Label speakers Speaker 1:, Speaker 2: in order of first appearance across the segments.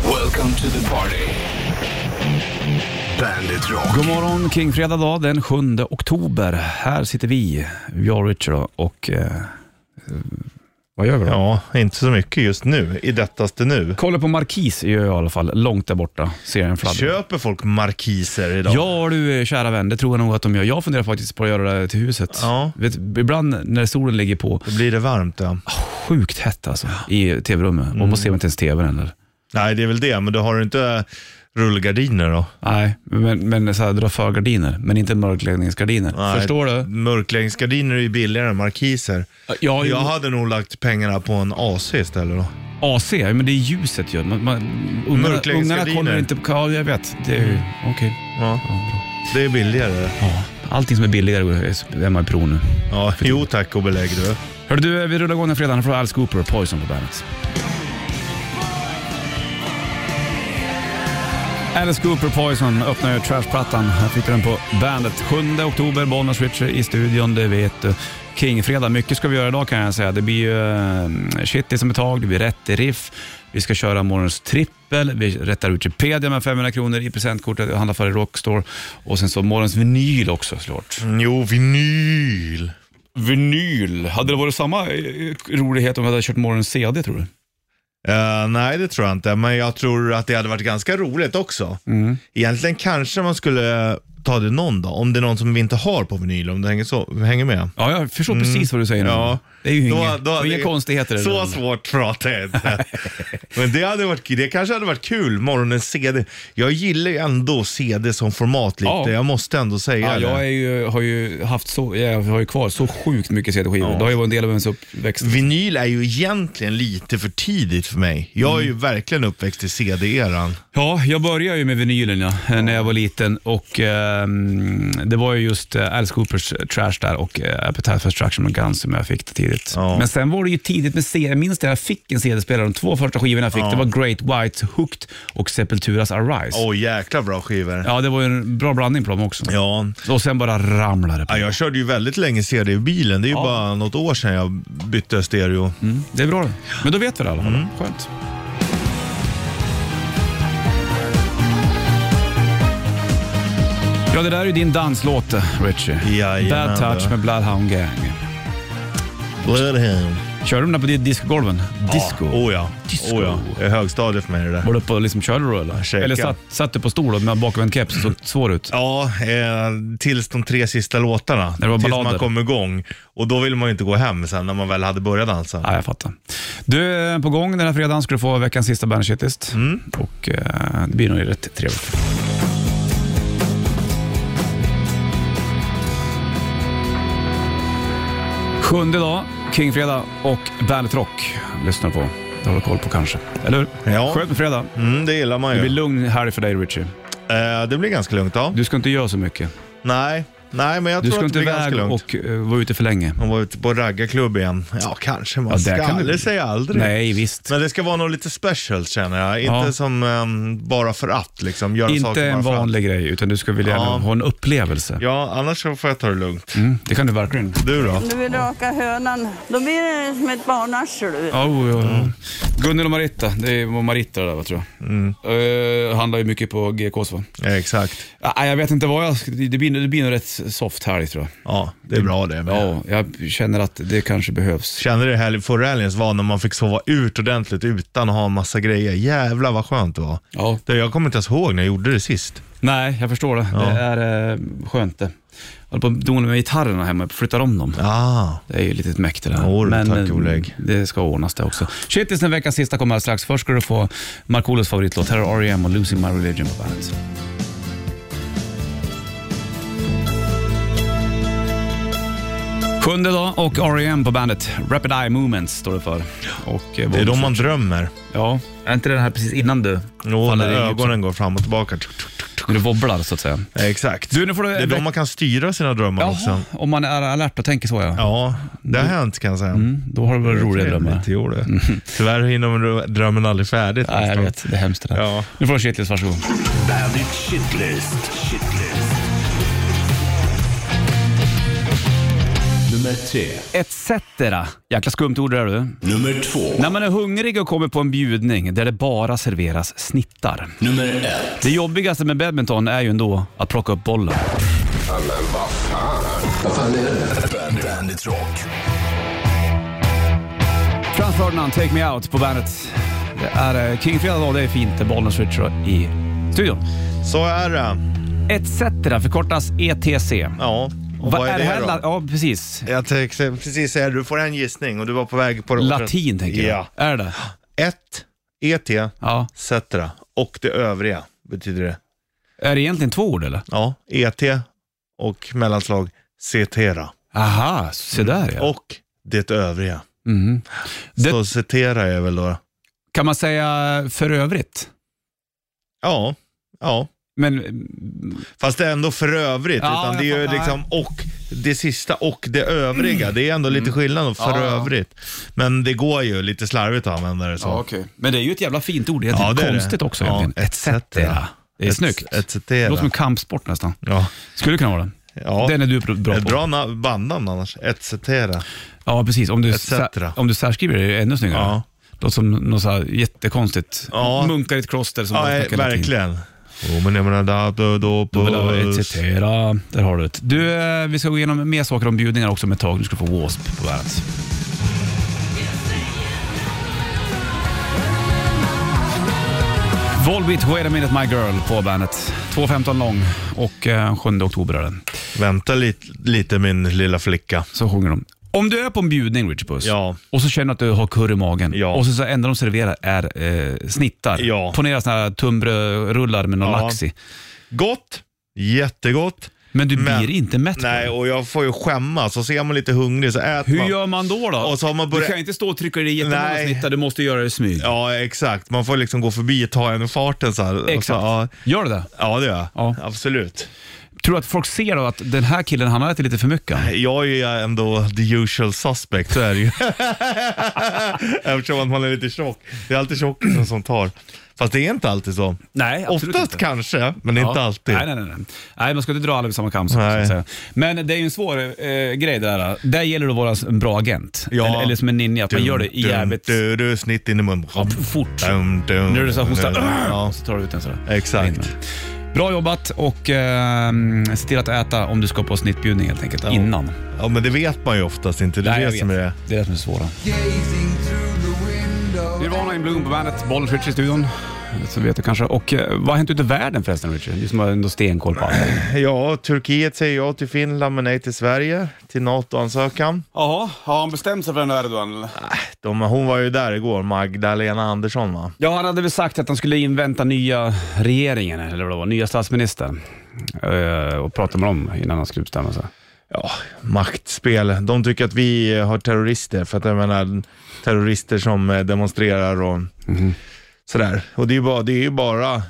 Speaker 1: Welcome to the party. Bandit Rock.
Speaker 2: God morgon, Kingfredag dag den 7 oktober. Här sitter vi, jag och Richard och... Eh, vad gör vi då?
Speaker 3: Ja, inte så mycket just nu, i dettaste nu.
Speaker 2: Kollar på Markis gör jag i alla fall, långt där borta. Ser en fladdra.
Speaker 3: Köper folk markiser idag?
Speaker 2: Ja du eh, kära vän, det tror jag nog att de gör. Jag funderar faktiskt på att göra det till huset.
Speaker 3: Ja.
Speaker 2: Vet, ibland när solen ligger på,
Speaker 3: Då blir det varmt ja.
Speaker 2: sjukt hett alltså i tv-rummet. Och
Speaker 3: Mm.
Speaker 2: man ser inte ens tvn heller.
Speaker 3: Nej, det är väl det, men då har du inte rullgardiner då?
Speaker 2: Nej, men, men så här, dra för gardiner, men inte mörkläggningsgardiner.
Speaker 3: Nej,
Speaker 2: Förstår du?
Speaker 3: Mörkläggningsgardiner är ju billigare än markiser.
Speaker 2: Ja,
Speaker 3: Jag
Speaker 2: jo.
Speaker 3: hade nog lagt pengarna på en AC istället då.
Speaker 2: AC, ja, men det är ljuset ju. Man, man, ungarna, ungarna
Speaker 3: Mörkläggningsgardiner.
Speaker 2: kollar inte på... Ja, jag vet. Det är ju... Okej.
Speaker 3: Ja. Det är billigare.
Speaker 2: Ja, allting som är billigare är- är man i pro nu.
Speaker 3: Ja, jo tack och belägg du.
Speaker 2: Hörru du, eh, vi rullar igång den fredagen från Alice Cooper och Poison på bandet. Alice Cooper Poison öppnar ju Trash-plattan. Här fick du den på bandet. 7 oktober, Bonus Richard i studion, det vet du. Kingfredag, mycket ska vi göra idag kan jag säga. Det blir ju eh, shitty som ett tag, det blir rätt i riff. Vi ska köra morgons trippel, vi rättar ut Wikipedia med 500 kronor i presentkortet, jag handlar för i Rockstore. Och sen så morgons vinyl också såklart.
Speaker 3: Jo, vinyl.
Speaker 2: Vinyl. Hade det varit samma eh, rolighet om vi hade kört morgonens CD tror du?
Speaker 3: Eh, nej, det tror jag inte, men jag tror att det hade varit ganska roligt också.
Speaker 2: Mm.
Speaker 3: Egentligen kanske man skulle ta det någon dag, om det är någon som vi inte har på vinyl, om det hänger, så, hänger med.
Speaker 2: Ja, jag förstår precis vad du säger nu.
Speaker 3: Mm. Ja.
Speaker 2: Det är ju
Speaker 3: Då-
Speaker 2: inga,
Speaker 3: då-
Speaker 2: och inga
Speaker 3: det-
Speaker 2: konstigheter. i det
Speaker 3: Så
Speaker 2: där.
Speaker 3: svårt pratar jag inte. Men det, hade varit, det kanske hade varit kul, morgonens CD. Jag gillar ju ändå CD som format lite,
Speaker 2: Ja.
Speaker 3: jag måste ändå säga
Speaker 2: Ja,
Speaker 3: det.
Speaker 2: jag är ju, har ju haft så, jag har ju kvar så sjukt mycket CD-skivor. Det har ju varit en del av ens uppväxt.
Speaker 3: Vinyl är ju egentligen lite för tidigt för mig. Jag är
Speaker 2: Mm.
Speaker 3: ju verkligen uppväxt i CD-eran.
Speaker 2: Ja, jag började ju med vinylen ja, eh, när jag var liten och ehm, det var ju just eh, Alice Coopers Trash där och eh, Appetite for Destruction och Guns som jag fick det tidigt.
Speaker 3: Ja.
Speaker 2: Men sen var det ju tidigt med CD. Jag minns det, jag fick en CD-spelare. De två första skivorna jag fick, det var Great Whites Hooked och Sepulturas Arise.
Speaker 3: Åh, jäkla bra skivor.
Speaker 2: Ja, det var ju en bra blandning på dem också.
Speaker 3: Ja.
Speaker 2: Och sen bara ramlade det på.
Speaker 3: Ja, jag körde ju väldigt länge CD i bilen. Det är ju bara något år sedan jag bytte stereo.
Speaker 2: Mm, det är bra det. Men då vet vi det i alla fall.
Speaker 3: Mm.
Speaker 2: Skönt. Ja, det där är ju din danslåt, Richie.
Speaker 3: Jajamän,
Speaker 2: Bad Touch
Speaker 3: du.
Speaker 2: med Bloodhound Gang.
Speaker 3: Bloodhound.
Speaker 2: Körde du den där på di- discogolven? Disco?
Speaker 3: Ja, oh ja.
Speaker 2: Disco.
Speaker 3: Oh ja. Det är högstadiet för mig det där.
Speaker 2: Var du på, liksom, körde du
Speaker 3: Jag
Speaker 2: eller?
Speaker 3: käkade.
Speaker 2: Eller satt, satt du på stol och med bakvänd keps och såg svår ut?
Speaker 3: Ja, eh, tills de tre sista låtarna.
Speaker 2: När det var
Speaker 3: tills
Speaker 2: ballader.
Speaker 3: man kom igång. Och då vill man ju inte gå hem sen när man väl hade börjat alltså. dansa.
Speaker 2: Ja, jag fattar. Du, eh, på gång den här fredagen ska du få veckans sista Bandit Shitlist.
Speaker 3: Mm.
Speaker 2: Och eh, det blir nog rätt trevligt. Sjunde dag, Kingfredag och Bandet Rock lyssnar på. Det har du koll på kanske, eller hur?
Speaker 3: Ja.
Speaker 2: Skönt med fredag.
Speaker 3: Mm, det gillar man
Speaker 2: Det
Speaker 3: ju.
Speaker 2: blir lugn helg för dig Richie.
Speaker 3: eh, det blir ganska lugnt ja.
Speaker 2: Du ska inte göra så mycket.
Speaker 3: Nej. Nej, men jag
Speaker 2: Du
Speaker 3: tror
Speaker 2: ska
Speaker 3: att det
Speaker 2: inte
Speaker 3: blir ganska
Speaker 2: iväg
Speaker 3: lugnt.
Speaker 2: och eh, vara ute för länge.
Speaker 3: Man var ute på raggarklubb igen. Ja, kanske. Man
Speaker 2: Ja, där
Speaker 3: ska
Speaker 2: kan du-
Speaker 3: aldrig säga aldrig.
Speaker 2: Nej, visst.
Speaker 3: Men det ska vara något lite special känner jag. Inte
Speaker 2: Ja.
Speaker 3: som ehm, bara för att liksom. Göra
Speaker 2: Inte
Speaker 3: saker bara
Speaker 2: en
Speaker 3: för att.
Speaker 2: vanlig grej, utan du ska vilja
Speaker 3: Ja.
Speaker 2: ha en upplevelse.
Speaker 3: Ja, annars så får jag ta det lugnt.
Speaker 2: Mm, det kan du verkligen.
Speaker 3: Du då?
Speaker 4: Du vill raka hönan. Då blir det som ett barnarsel.
Speaker 2: Ja, oh, ja. Gunnel och Maritta, det var Maritta det där va, tror jag. Eh, handlar ju mycket på GKs va?
Speaker 3: Ja, exakt.
Speaker 2: Ah, jag vet inte vad jag ska- det blir, det blir nog rätt soft helg tror jag.
Speaker 3: Ja, det är bra det.
Speaker 2: Ja, jag känner att det kanske behövs.
Speaker 3: Kände du helg, förra helgens var när man fick sova ut ordentligt utan att ha en massa grejer. Jävlar vad skönt det var.
Speaker 2: Ja.
Speaker 3: Det, jag kommer inte ens ihåg när jag gjorde det sist.
Speaker 2: Nej, jag förstår det. Det är eh, skönt det. Jag håller på att dona med gitarrerna hemma, flyttar om dem.
Speaker 3: Ah.
Speaker 2: Det är ju lite ett mäkt det där.
Speaker 3: Jo, tack
Speaker 2: eh,
Speaker 3: och belägg.
Speaker 2: det ska ordnas det också. Shitlisten veckans sista kommer alldeles strax. Först ska du få Markoolios favoritlåt. Här har R.E.M. och Losing My Religion på bandet. Sjunde dag och R.E.M. på bandet. Rapid Eye Movements står det för. Och, eh,
Speaker 3: Det är då man drömmer.
Speaker 2: Ja, är inte den här precis innan du
Speaker 3: Jo, när
Speaker 2: i djup-
Speaker 3: ögonen går fram och tillbaka.
Speaker 2: När du wobblar så att säga.
Speaker 3: Ja, Exakt.
Speaker 2: Du, nu får du-
Speaker 3: Det är då man kan styra sina drömmar också.
Speaker 2: Jaha, Mm. om man är alert och tänker så ja.
Speaker 3: Ja, det har hänt kan jag säga.
Speaker 2: Då har du väl roliga drömmar.
Speaker 3: Jo, det. Tyvärr hinner man drömmen aldrig färdigt.
Speaker 2: Ja, jag
Speaker 3: nästan.
Speaker 2: vet. Det är hemskt det där.
Speaker 3: Ja.
Speaker 2: Nu får du shitlist, varsågod.
Speaker 1: Bandit Shitlist. Shitlist.
Speaker 2: The
Speaker 1: Nummer tre.
Speaker 2: Etc. Jäkla skumt ord det där du.
Speaker 1: Nummer två.
Speaker 2: När man är hungrig och kommer på en bjudning där det bara serveras snittar.
Speaker 1: Nummer ett.
Speaker 2: Det jobbigaste med badminton är ju ändå att plocka upp bollen.
Speaker 1: Bandit, Bandit Rock.
Speaker 2: Franz Ferdinand, Take Me Out på bandet. Det är eh, Kingfredag idag, det är fint. Det är Bollnäs Ritcher i studion.
Speaker 3: Så är det.
Speaker 2: ETC förkortas E ETC.
Speaker 3: Ja, och vad är det,
Speaker 2: här la-
Speaker 3: då?
Speaker 2: Ja, precis.
Speaker 3: Jag tänkte precis säga, du får en gissning och du var på väg på det.
Speaker 2: Latin tänker jag.
Speaker 3: Ja.
Speaker 2: Är det det?
Speaker 3: Ett, ET,
Speaker 2: Ja.
Speaker 3: cetera och det övriga betyder det.
Speaker 2: Är det egentligen två ord eller?
Speaker 3: Ja, ET och mellanslag cetera
Speaker 2: Aha, se där ja.
Speaker 3: och det övriga. Mm.
Speaker 2: Mhm. Det-
Speaker 3: Så cetera är väl då,
Speaker 2: Kan man säga för övrigt?
Speaker 3: ja, ja.
Speaker 2: Men
Speaker 3: Fast det är ändå för övrigt,
Speaker 2: Ja,
Speaker 3: utan det är
Speaker 2: jag
Speaker 3: ju
Speaker 2: fattar.
Speaker 3: liksom och det sista och det övriga. Det är ändå lite skillnad och för
Speaker 2: Ja, ja.
Speaker 3: övrigt. Men det går ju lite slarvigt att använda det så.
Speaker 2: okej. Men det är ju ett jävla fint ord. Det är
Speaker 3: Ja, det är det.
Speaker 2: konstigt också
Speaker 3: Ja,
Speaker 2: egentligen.
Speaker 3: etc.
Speaker 2: Det är
Speaker 3: Et-
Speaker 2: snyggt.
Speaker 3: etc.
Speaker 2: Det låter som en kampsport nästan.
Speaker 3: Ja.
Speaker 2: Skulle kunna vara det.
Speaker 3: ja.
Speaker 2: Den är du bra på.
Speaker 3: Ett bra na- bandnamn annars. Etc.
Speaker 2: Ja, precis. Om du,
Speaker 3: Et cetera.
Speaker 2: sä- om du särskriver det är det ännu snyggare.
Speaker 3: Ja.
Speaker 2: Låter som något så här jättekonstigt.
Speaker 3: Ja.
Speaker 2: Munkar i ett kloster som
Speaker 3: Ja,
Speaker 2: bara
Speaker 3: eh,
Speaker 2: snackar latin.
Speaker 3: verkligen. Oh, men jag menar, da, da, da,
Speaker 2: Då vill jag et cetera. Där har du det. Du, eh, vi ska gå igenom mer saker om bjudningar också med ett tag. Nu ska du få W.A.S.P. på bandet. Volbeat, Wait a minute my girl på bandet. 2.15 lång och eh, 7 oktober är den.
Speaker 3: Vänta lite, lite min lilla flicka.
Speaker 2: Så sjunger de. Om du är på en bjudning, Richard Puss,
Speaker 3: Ja.
Speaker 2: och så känner att du har kurr i magen
Speaker 3: Ja.
Speaker 2: och så, så enda de serverar är eh, snittar.
Speaker 3: Ja.
Speaker 2: Ponera såna här tunnbrödsrullar med någon
Speaker 3: Ja.
Speaker 2: lax i.
Speaker 3: Gott. Jättegott.
Speaker 2: Men du
Speaker 3: Men-
Speaker 2: blir inte mätt på
Speaker 3: Nej,
Speaker 2: det.
Speaker 3: och jag får ju skämmas. Och så är man lite hungrig så äter
Speaker 2: Hur
Speaker 3: man.
Speaker 2: gör man då? då?
Speaker 3: Och så har man
Speaker 2: Du
Speaker 3: börjat-
Speaker 2: kan ju inte stå och trycka i dig jättemånga
Speaker 3: Nej.
Speaker 2: snittar, du måste göra det i smyg.
Speaker 3: Ja, exakt. Man får liksom gå förbi och ta en i farten så här. Och Så,
Speaker 2: Exakt.
Speaker 3: alltså, ja,
Speaker 2: Gör du det?
Speaker 3: ja, det gör jag.
Speaker 2: Ja.
Speaker 3: Absolut.
Speaker 2: Tror du att folk ser då att den här killen, han har ätit lite för mycket?
Speaker 3: Jag är ju ändå the usual suspect, så är det ju. Eftersom att man är lite tjock. Det är alltid tjockisen som tar. Fast det är inte alltid så.
Speaker 2: Nej, absolut
Speaker 3: Oftast
Speaker 2: inte.
Speaker 3: kanske, men inte
Speaker 2: Ja.
Speaker 3: alltid.
Speaker 2: Nej, nej, nej, nej. Nej, man ska inte dra alla vid samma kam. Så
Speaker 3: Nej.
Speaker 2: att säga. Men det är ju en svår eh, grej det där. Där gäller det att vara en bra agent.
Speaker 3: Ja.
Speaker 2: Eller, eller som en ninja, att man gör det i jävligt
Speaker 3: Du, du, snitt in i munnen.
Speaker 2: Ja, fort.
Speaker 3: Dum, dum,
Speaker 2: Nu är det så här hostar,
Speaker 3: Ja,
Speaker 2: så tar du ut den sådär.
Speaker 3: exakt.
Speaker 2: Bra jobbat och eh, se till att äta om du ska på snittbjudning helt enkelt, innan.
Speaker 3: Ja, men det vet man ju oftast inte. Det är
Speaker 2: Nej, jag
Speaker 3: det som är
Speaker 2: vet. Det
Speaker 3: det.
Speaker 2: är det som är svåra.
Speaker 5: Gazing through the window.
Speaker 2: Nirvana in Bloom på bandet, Bollens Richard i studion. Så vet du kanske. Och eh, vad har hänt ute i världen förresten Richard? Du som har ändå stenkoll på allt.
Speaker 3: Ja, Turkiet säger ja till Finland men nej till Sverige, till NATO-ansökan.
Speaker 2: Jaha, har han bestämt sig för den där Erdogan?
Speaker 3: De, hon var ju där igår, Magdalena Andersson va?
Speaker 2: Ja, han hade väl sagt att han skulle invänta nya regeringen, eller vad det var, nya statsministern. Eh, Och prata med dem innan han skulle bestämma sig.
Speaker 3: Ja, maktspel. De tycker att vi eh, har terrorister, för att jag menar terrorister som eh, demonstrerar och sådär. Och det är ju bara, det är ju bara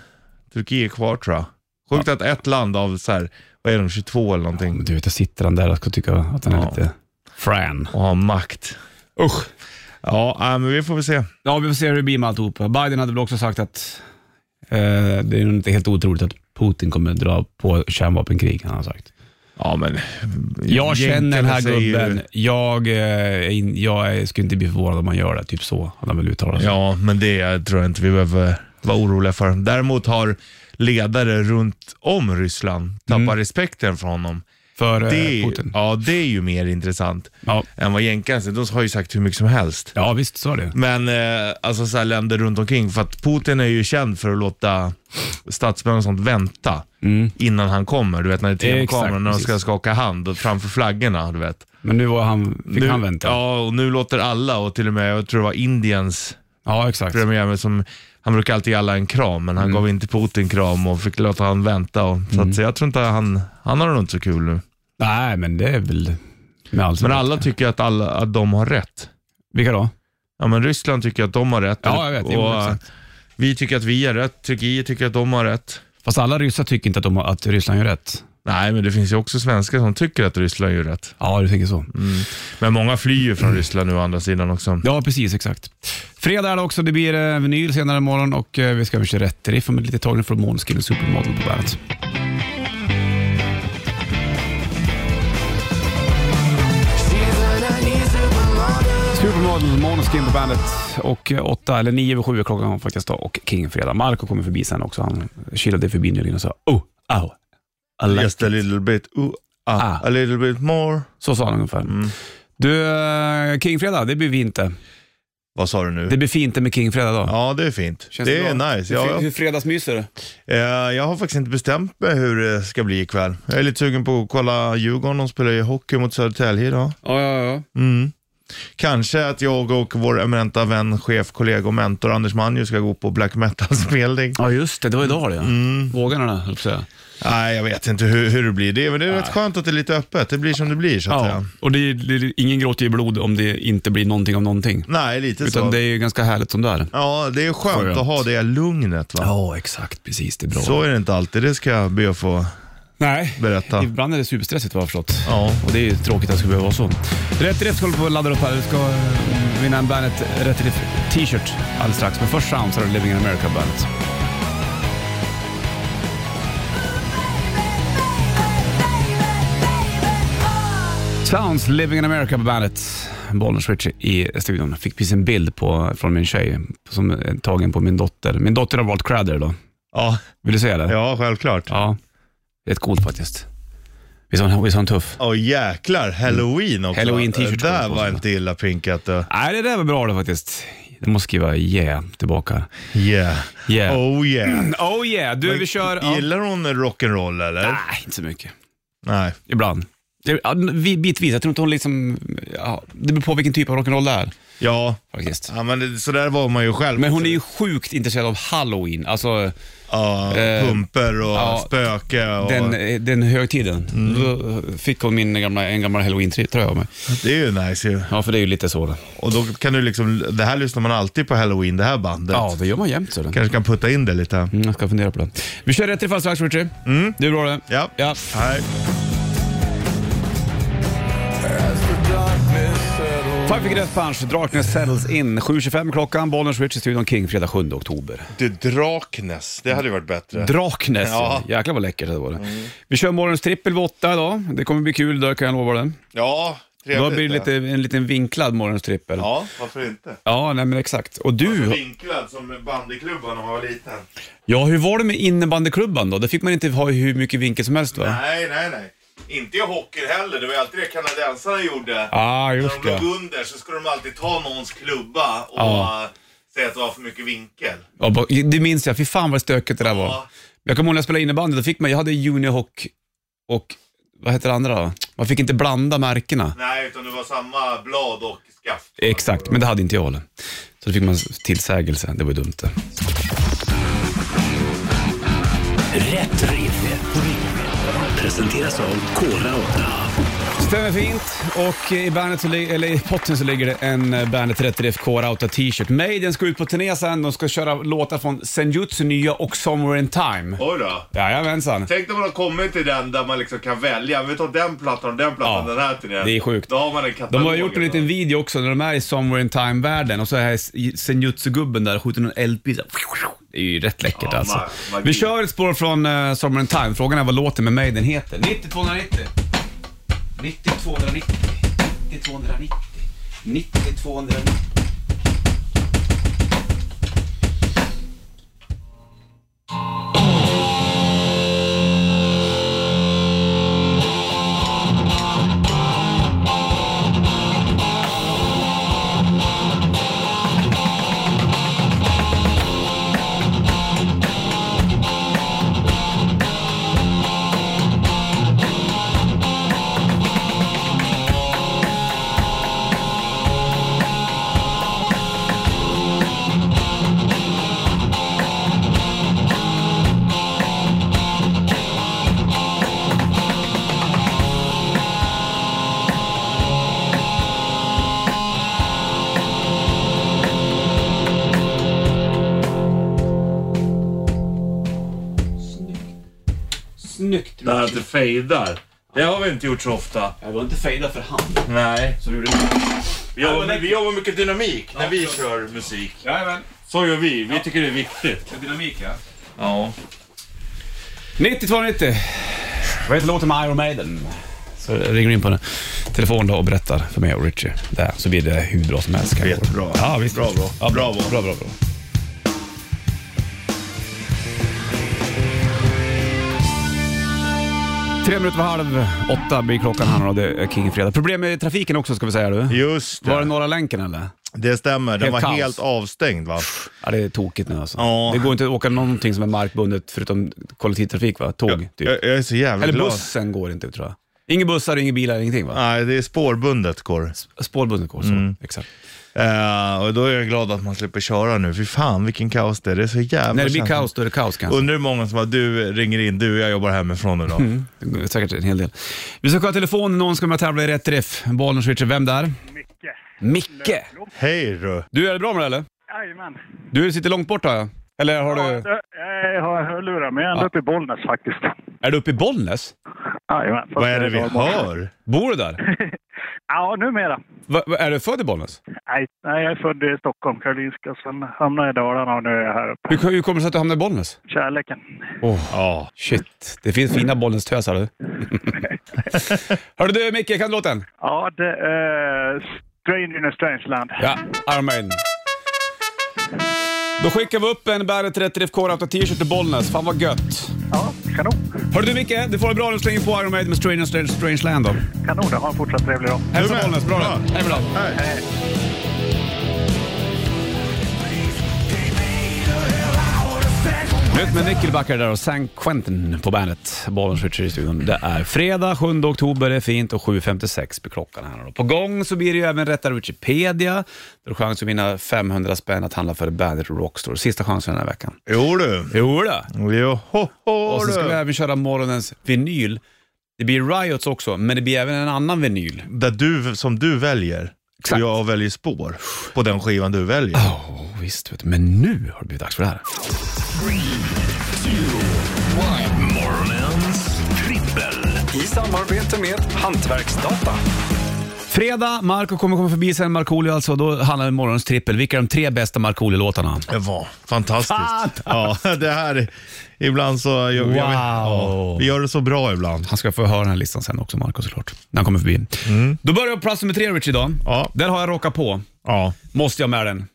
Speaker 3: Turkiet kvar tror jag. Sjukt att ett land av så här, vad är de, 22 eller någonting,
Speaker 2: Men du vet, jag sitter han där och ska tycka att han är
Speaker 3: Ja.
Speaker 2: lite frän.
Speaker 3: och har makt.
Speaker 2: Usch.
Speaker 3: Ja, äh, men vi får väl se.
Speaker 2: Ja, vi får se hur det blir med alltihopa. Biden hade väl också sagt att eh, det är nog inte helt otroligt att Putin kommer dra på kärnvapenkrig, han har sagt.
Speaker 3: Ja, men,
Speaker 2: Jag känner den här
Speaker 3: Jänkarna säger ju-
Speaker 2: gubben. Jag, eh, är in- jag är- skulle inte bli förvånad om man gör det. Typ så hade han väl uttalat sig.
Speaker 3: Ja, men det tror jag inte vi behöver vara oroliga för. Däremot har ledare runt om Ryssland tappat respekten för honom.
Speaker 2: För Mm. eh,
Speaker 3: Det,
Speaker 2: Putin. Ja.
Speaker 3: ja, det är ju mer intressant
Speaker 2: Ja.
Speaker 3: än vad jänkarna säger. De har ju sagt hur mycket som helst.
Speaker 2: visst så är det.
Speaker 3: Men eh, alltså så här länder runt omkring, för att Putin är ju känd för att låta statsmän och sånt vänta innan han kommer. Du vet när det är tv-kameror,
Speaker 2: Mm. Exakt,
Speaker 3: när de
Speaker 2: precis.
Speaker 3: ska skaka hand och framför flaggorna. Du vet.
Speaker 2: Men nu var han, fick
Speaker 3: nu,
Speaker 2: han vänta. Ja,
Speaker 3: Ja, och nu låter alla och till och med, jag tror det var Indiens
Speaker 2: exakt.
Speaker 3: premiärminister som han brukar alltid ge alla en kram, men han
Speaker 2: Mm.
Speaker 3: gav inte Putin kram och fick låta han vänta. Och, så, att, så jag tror inte han, han har nog inte så kul nu.
Speaker 2: Nej, men det är väl med all
Speaker 3: Men
Speaker 2: rätt.
Speaker 3: alla tycker att, alla, att de har rätt.
Speaker 2: Vilka då?
Speaker 3: Ja, men Ryssland tycker att de har rätt.
Speaker 2: Ja, jag vet.
Speaker 3: Och,
Speaker 2: Jo,
Speaker 3: eh,
Speaker 2: exakt.
Speaker 3: vi tycker att vi har rätt, Turkiet tycker att de har rätt.
Speaker 2: Fast alla ryssar tycker inte att, de, har- att Ryssland gör rätt.
Speaker 3: Nej, men det finns ju också svenskar som tycker att Ryssland gör rätt.
Speaker 2: Ja, du tänker så.
Speaker 3: Men många flyr ju från Ryssland nu å andra sidan också.
Speaker 2: Ja, precis. Exakt. Fredag är det också. Det blir eh, vinyl senare imorgon och eh, vi ska över till rätt riff om ett litet tag. Nu får du Måneskin och Supermodel på bandet.
Speaker 5: She's
Speaker 2: Ritual, Måneskin på bandet och eh, åtta eller nio över sju är klockan faktiskt då och King fredag. Marco kommer förbi sen också. Han kilade förbi nyligen och sa oh, ow. I like
Speaker 3: Just a
Speaker 2: it."
Speaker 3: little bit, ooh, ah,
Speaker 2: Ah.
Speaker 3: a little bit more.
Speaker 2: Så sa han ungefär. Du, eh, Kingfredag, det blir vi inte.
Speaker 3: Vad sa du nu?
Speaker 2: Det blir fint med Kingfredag då.
Speaker 3: Ja, det är fint. det är
Speaker 2: bra?
Speaker 3: nice.
Speaker 2: Hur,
Speaker 3: Jag,
Speaker 2: hur fredagsmyser du?
Speaker 3: eh, jag har faktiskt inte bestämt mig hur det ska bli ikväll. Jag är lite sugen på att kolla Djurgården. De spelar ju hockey mot Södertälje idag.
Speaker 2: Ja, ja, ja.
Speaker 3: Mm. Kanske att jag och vår eminenta vän, chef, kollega och mentor Anders Manju ska gå på black metal-spelning.
Speaker 2: Ja, just det. Det var idag det. Mm. Vågarna, höll jag på att säga.
Speaker 3: Nej, jag vet inte hur, hur det blir. Det, är- men det är rätt skönt att det är lite öppet. Det blir som det blir, så att
Speaker 2: Ja,
Speaker 3: säga.
Speaker 2: och det är, det är, ingen gråter i blod om det inte blir någonting av någonting.
Speaker 3: Nej, lite så.
Speaker 2: Utan det är ju ganska härligt som det är.
Speaker 3: Ja, det är skönt,
Speaker 2: Skönt.
Speaker 3: att ha det lugnet. Va?
Speaker 2: Ja, exakt. Precis. Det är bra.
Speaker 3: Så är det inte alltid. Det ska jag be att få
Speaker 2: Nej,
Speaker 3: berätta.
Speaker 2: ibland är det superstressigt vad jag har förstått.
Speaker 3: Ja.
Speaker 2: Och det är ju tråkigt att det skulle behöva vara så. Rätt Riff ska hålla på och ladda upp här. Vi ska eh, vinna en Bandet Rätt Riff t-shirt alldeles strax. Men först Sounds har du Living in America Bandet. Sounds Living in America på bandet. Bollnäs Richie i studion. Fick precis en bild på, från min tjej som är tagen på min dotter. Min dotter har valt kläder idag.
Speaker 3: Ja,
Speaker 2: Vill du se det?
Speaker 3: ja självklart.
Speaker 2: Ja, rätt coolt faktiskt. Visst var hon, visst var hon tuff?
Speaker 3: Åh jäklar, halloween också.
Speaker 2: Halloween-t-shirt
Speaker 3: Det där
Speaker 2: kommer på
Speaker 3: var
Speaker 2: sig.
Speaker 3: inte illa pinkat. eh. du.
Speaker 2: Nej, det där var bra det faktiskt. Jag måste skriva yeah tillbaka.
Speaker 3: Yeah.
Speaker 2: Yeah. Oh,
Speaker 3: Oh yeah.
Speaker 2: yeah, du vi kör... Ja.
Speaker 3: Gillar hon rock'n'roll eller?
Speaker 2: Nej, inte så mycket.
Speaker 3: Nej.
Speaker 2: Ibland. Det- Ja, vi- bitvis, jag tror inte hon liksom... Ja, det beror på vilken typ av rock'n'roll det är
Speaker 3: Ja.
Speaker 2: faktiskt.
Speaker 3: ja, men det, så där var man ju själv.
Speaker 2: Men hon är ju sjukt intresserad av halloween, alltså
Speaker 3: Ja,
Speaker 2: Eh,
Speaker 3: pumper och
Speaker 2: ja,
Speaker 3: spöke och...
Speaker 2: den, eh, den högtiden. Då fick hon min gamla, en gammal halloween-tröja av mig.
Speaker 3: Det är ju nice ju.
Speaker 2: Ja, för det är ju lite så. Då.
Speaker 3: Och då kan du liksom, det här lyssnar man alltid på halloween, det här bandet.
Speaker 2: Ja, det gör man jämt. Så
Speaker 3: Kanske kan putta in det lite.
Speaker 2: Mm, jag ska fundera på det. Vi kör rätt i fall strax, Richie. Mm. Du är bra det.
Speaker 3: Ja.
Speaker 2: ja.
Speaker 3: Nej.
Speaker 2: Five Finger Death Punch, Darkness Settles In. 7.25 klockan, Bollnäs Richie studion King, fredag 7 oktober.
Speaker 3: Du, Draknäs, det hade ju varit bättre.
Speaker 2: Draknäs, ja.
Speaker 3: Ja. Mm.
Speaker 2: jäklar vad läckert det var. Vi kör morgons trippel vid åtta idag. Det kommer bli kul idag kan jag lova det.
Speaker 3: ja, trevligt.
Speaker 2: Då blir det lite, en liten vinklad morgons trippel. Ja.
Speaker 3: Ja, varför inte?
Speaker 2: nej men exakt. Och du,
Speaker 3: Alltså, Vinklad som bandyklubban när man var liten.
Speaker 2: ja hur var det med innebandyklubban då? Det fick man inte ha hur mycket vinkel som helst va?
Speaker 3: Nej, nej, nej. Inte i hockey heller. Det var ju alltid det kanadensarna gjorde.
Speaker 2: Ah,
Speaker 3: När
Speaker 2: just
Speaker 3: de
Speaker 2: det.
Speaker 3: låg under så skulle de alltid ta någons klubba och
Speaker 2: Ja.
Speaker 3: eh, säga att det var för mycket vinkel.
Speaker 2: Ja, ba- det minns jag. Fy fan vad stökigt det där var.
Speaker 3: Ja.
Speaker 2: Jag kommer ihåg när jag spelade innebandy, då fick man, jag hade juniorhock och vad hette det andra då? Man fick inte blanda märkena.
Speaker 3: Nej, utan det var samma blad och skaft.
Speaker 2: Exakt, men det hade inte jag heller. Så då fick man tillsägelse, det var ju dumt det.
Speaker 1: Rätt riff. Presenteras av Kora 8.
Speaker 2: Stämmer fint och i, bandet så li- eller i potten så ligger det en eh, Bandet 30 DF Core Outta t-shirt. Maiden ska ut på turné sen, de ska köra låtar från Senjutsu nya och Somewhere in Time.
Speaker 6: Oj då.
Speaker 2: Jajamensan.
Speaker 6: Tänk om man har kommit till den där man liksom kan välja. Vi tar den plattan och den plattan,
Speaker 2: Ja,
Speaker 6: den här turnén.
Speaker 2: det är sjukt.
Speaker 6: Då har man en katalog.
Speaker 2: De har gjort en liten video också när de är i Somewhere in Time-världen och så är här Senjutsu-gubben där och skjuter någon eldpil. så här. Det är ju rätt läckert
Speaker 6: Ja,
Speaker 2: alltså.
Speaker 6: ma- magi.
Speaker 2: Vi kör ett spår från eh, Somewhere in Time. Frågan är vad låten med Maiden heter. 9290. 9290. 9290. 9290. Snyggt.
Speaker 6: Där att det fejdar. Det har vi inte gjort så ofta.
Speaker 2: Jag var inte fejdad för hand.
Speaker 6: Nej.
Speaker 2: Så gjorde
Speaker 6: Vi jobbar, vi jobbar mycket dynamik när vi kör musik.
Speaker 2: Jajamän.
Speaker 6: Så gör vi. Vi tycker det är viktigt.
Speaker 2: Dynamik ja.
Speaker 6: Ja.
Speaker 2: 9290. Vad heter låten med Iron Maiden? Så ringer du in på den. telefon då och berättar för mig och Richie. Där, så blir det hur bra som helst. kanske.
Speaker 3: Jättebra.
Speaker 2: Ja, visst.
Speaker 3: Bra, bra.
Speaker 2: Ja, bra,
Speaker 3: Bravo.
Speaker 2: bra, bra, bra. Tre minuter över halv åtta blir klockan här nu då. Det är King Fredag. Problem med trafiken också ska vi säga du.
Speaker 3: Just
Speaker 2: Var det
Speaker 3: det.
Speaker 2: Norra länken eller?
Speaker 3: Det stämmer. Den
Speaker 2: Helt
Speaker 3: var
Speaker 2: kaos.
Speaker 3: helt avstängd va?
Speaker 2: Ja, det är tokigt nu alltså.
Speaker 3: Ja.
Speaker 2: Det går inte att åka någonting som är markbundet förutom kollektivtrafik va? Tåg typ.
Speaker 3: Jag, jag är så jävla
Speaker 2: Eller
Speaker 3: glad.
Speaker 2: bussen går inte tror jag. Inga bussar, inga bilar, ingenting va?
Speaker 3: Nej, det är spårbundet går.
Speaker 2: Spårbundet går så.
Speaker 3: Mm.
Speaker 2: Exakt.
Speaker 3: Eh, och då är jag glad att man slipper köra nu. Fy fan vilken kaos det är. Det är så jävla
Speaker 2: När det blir
Speaker 3: känsligt.
Speaker 2: kaos, då är det kaos kanske.
Speaker 3: Undrar hur många som bara, du ringer in, du jag jobbar hemifrån idag.
Speaker 2: Det är Säkert en hel del. Vi ska kolla telefonen, någon ska med och tävla i rätt riff. Bollen switcher, vem där? Micke. Micke!
Speaker 3: Hej du.
Speaker 2: Du, är det bra med det eller?
Speaker 7: Jajamän.
Speaker 2: Du sitter långt bort har jag. Eller har
Speaker 3: Eh.
Speaker 2: du...
Speaker 7: Jag- Jag har hörlurar, men jag är ändå uppe i Bollnäs faktiskt.
Speaker 2: Är du uppe i Bollnäs?
Speaker 7: Jajamän.
Speaker 3: Vad är det vi hör?
Speaker 2: Bor du där?
Speaker 7: Ja, numera.
Speaker 2: Va, va, är du född i Bollnäs?
Speaker 7: Nej, nej, jag är född i Stockholm, Karolinska. Sen hamnade jag i Dalarna och nu är jag här uppe.
Speaker 2: Hur, hur kommer det sig att du hamnade i Bollnäs?
Speaker 7: Kärleken.
Speaker 3: Ja.
Speaker 2: Shit, det finns fina Bollnäs-tösar du. Hörru du Micke, kan du låten?
Speaker 7: Ja, det är Strange in a strange land.
Speaker 2: Ja, Iron Maiden. Då skickar vi upp en Bandet 30 FK Rauta t-shirt till Bollnäs. Fan vad gött.
Speaker 7: Ja, kanon.
Speaker 2: Hörru du Micke, du får det bra nu slänger på Iron Maiden med Strange and Strange, Strange Land då.
Speaker 7: Kanon, ha en fortsatt trevlig dag.
Speaker 2: Hälsa
Speaker 3: Du med.
Speaker 2: Bollnäs, bra
Speaker 3: Bra.
Speaker 2: då. Hej med dig. Nytt med Nickelbackar där och San Quentin på bandet. Bollen switcher i studion. Det är fredag 7 oktober, det är fint och 7.56 blir klockan här. nu. På gång så blir det ju även Rätta Wikipedia. Då är det chans att vinna 500 spänn att handla för Bandet Rockstore. Sista chansen den här veckan.
Speaker 3: Jo du.
Speaker 2: Jo då.
Speaker 3: Jo, ho, ho,
Speaker 2: Och så ska vi
Speaker 3: du.
Speaker 2: även köra morgonens vinyl. Det blir Riots också, men det blir även en annan vinyl.
Speaker 3: Där du, som du väljer.
Speaker 2: Exakt.
Speaker 3: Och jag väljer spår på den skivan du väljer.
Speaker 2: Oh, visst, vet du. men nu har det blivit dags för det här.
Speaker 1: Morgonens trippel.
Speaker 8: I samarbete med Hantverksdata.
Speaker 2: Fredag, Marco kommer komma förbi sen, Markoolio alltså. Då handlar det om morgonens trippel. Vilka är de tre bästa Markoolio-låtarna?
Speaker 3: Det var fantastiskt. Ja, det här är, ibland så... Jag, jag vet, ja,
Speaker 2: Wow.
Speaker 3: vi gör det så bra ibland.
Speaker 2: Han ska få höra den här listan sen också, Marco såklart. När han kommer förbi. Då börjar jag på plats nummer tre, Rich, idag.
Speaker 3: Mm. Ja.
Speaker 2: Där har jag rockat på.
Speaker 3: Ja,
Speaker 2: Måste jag med den.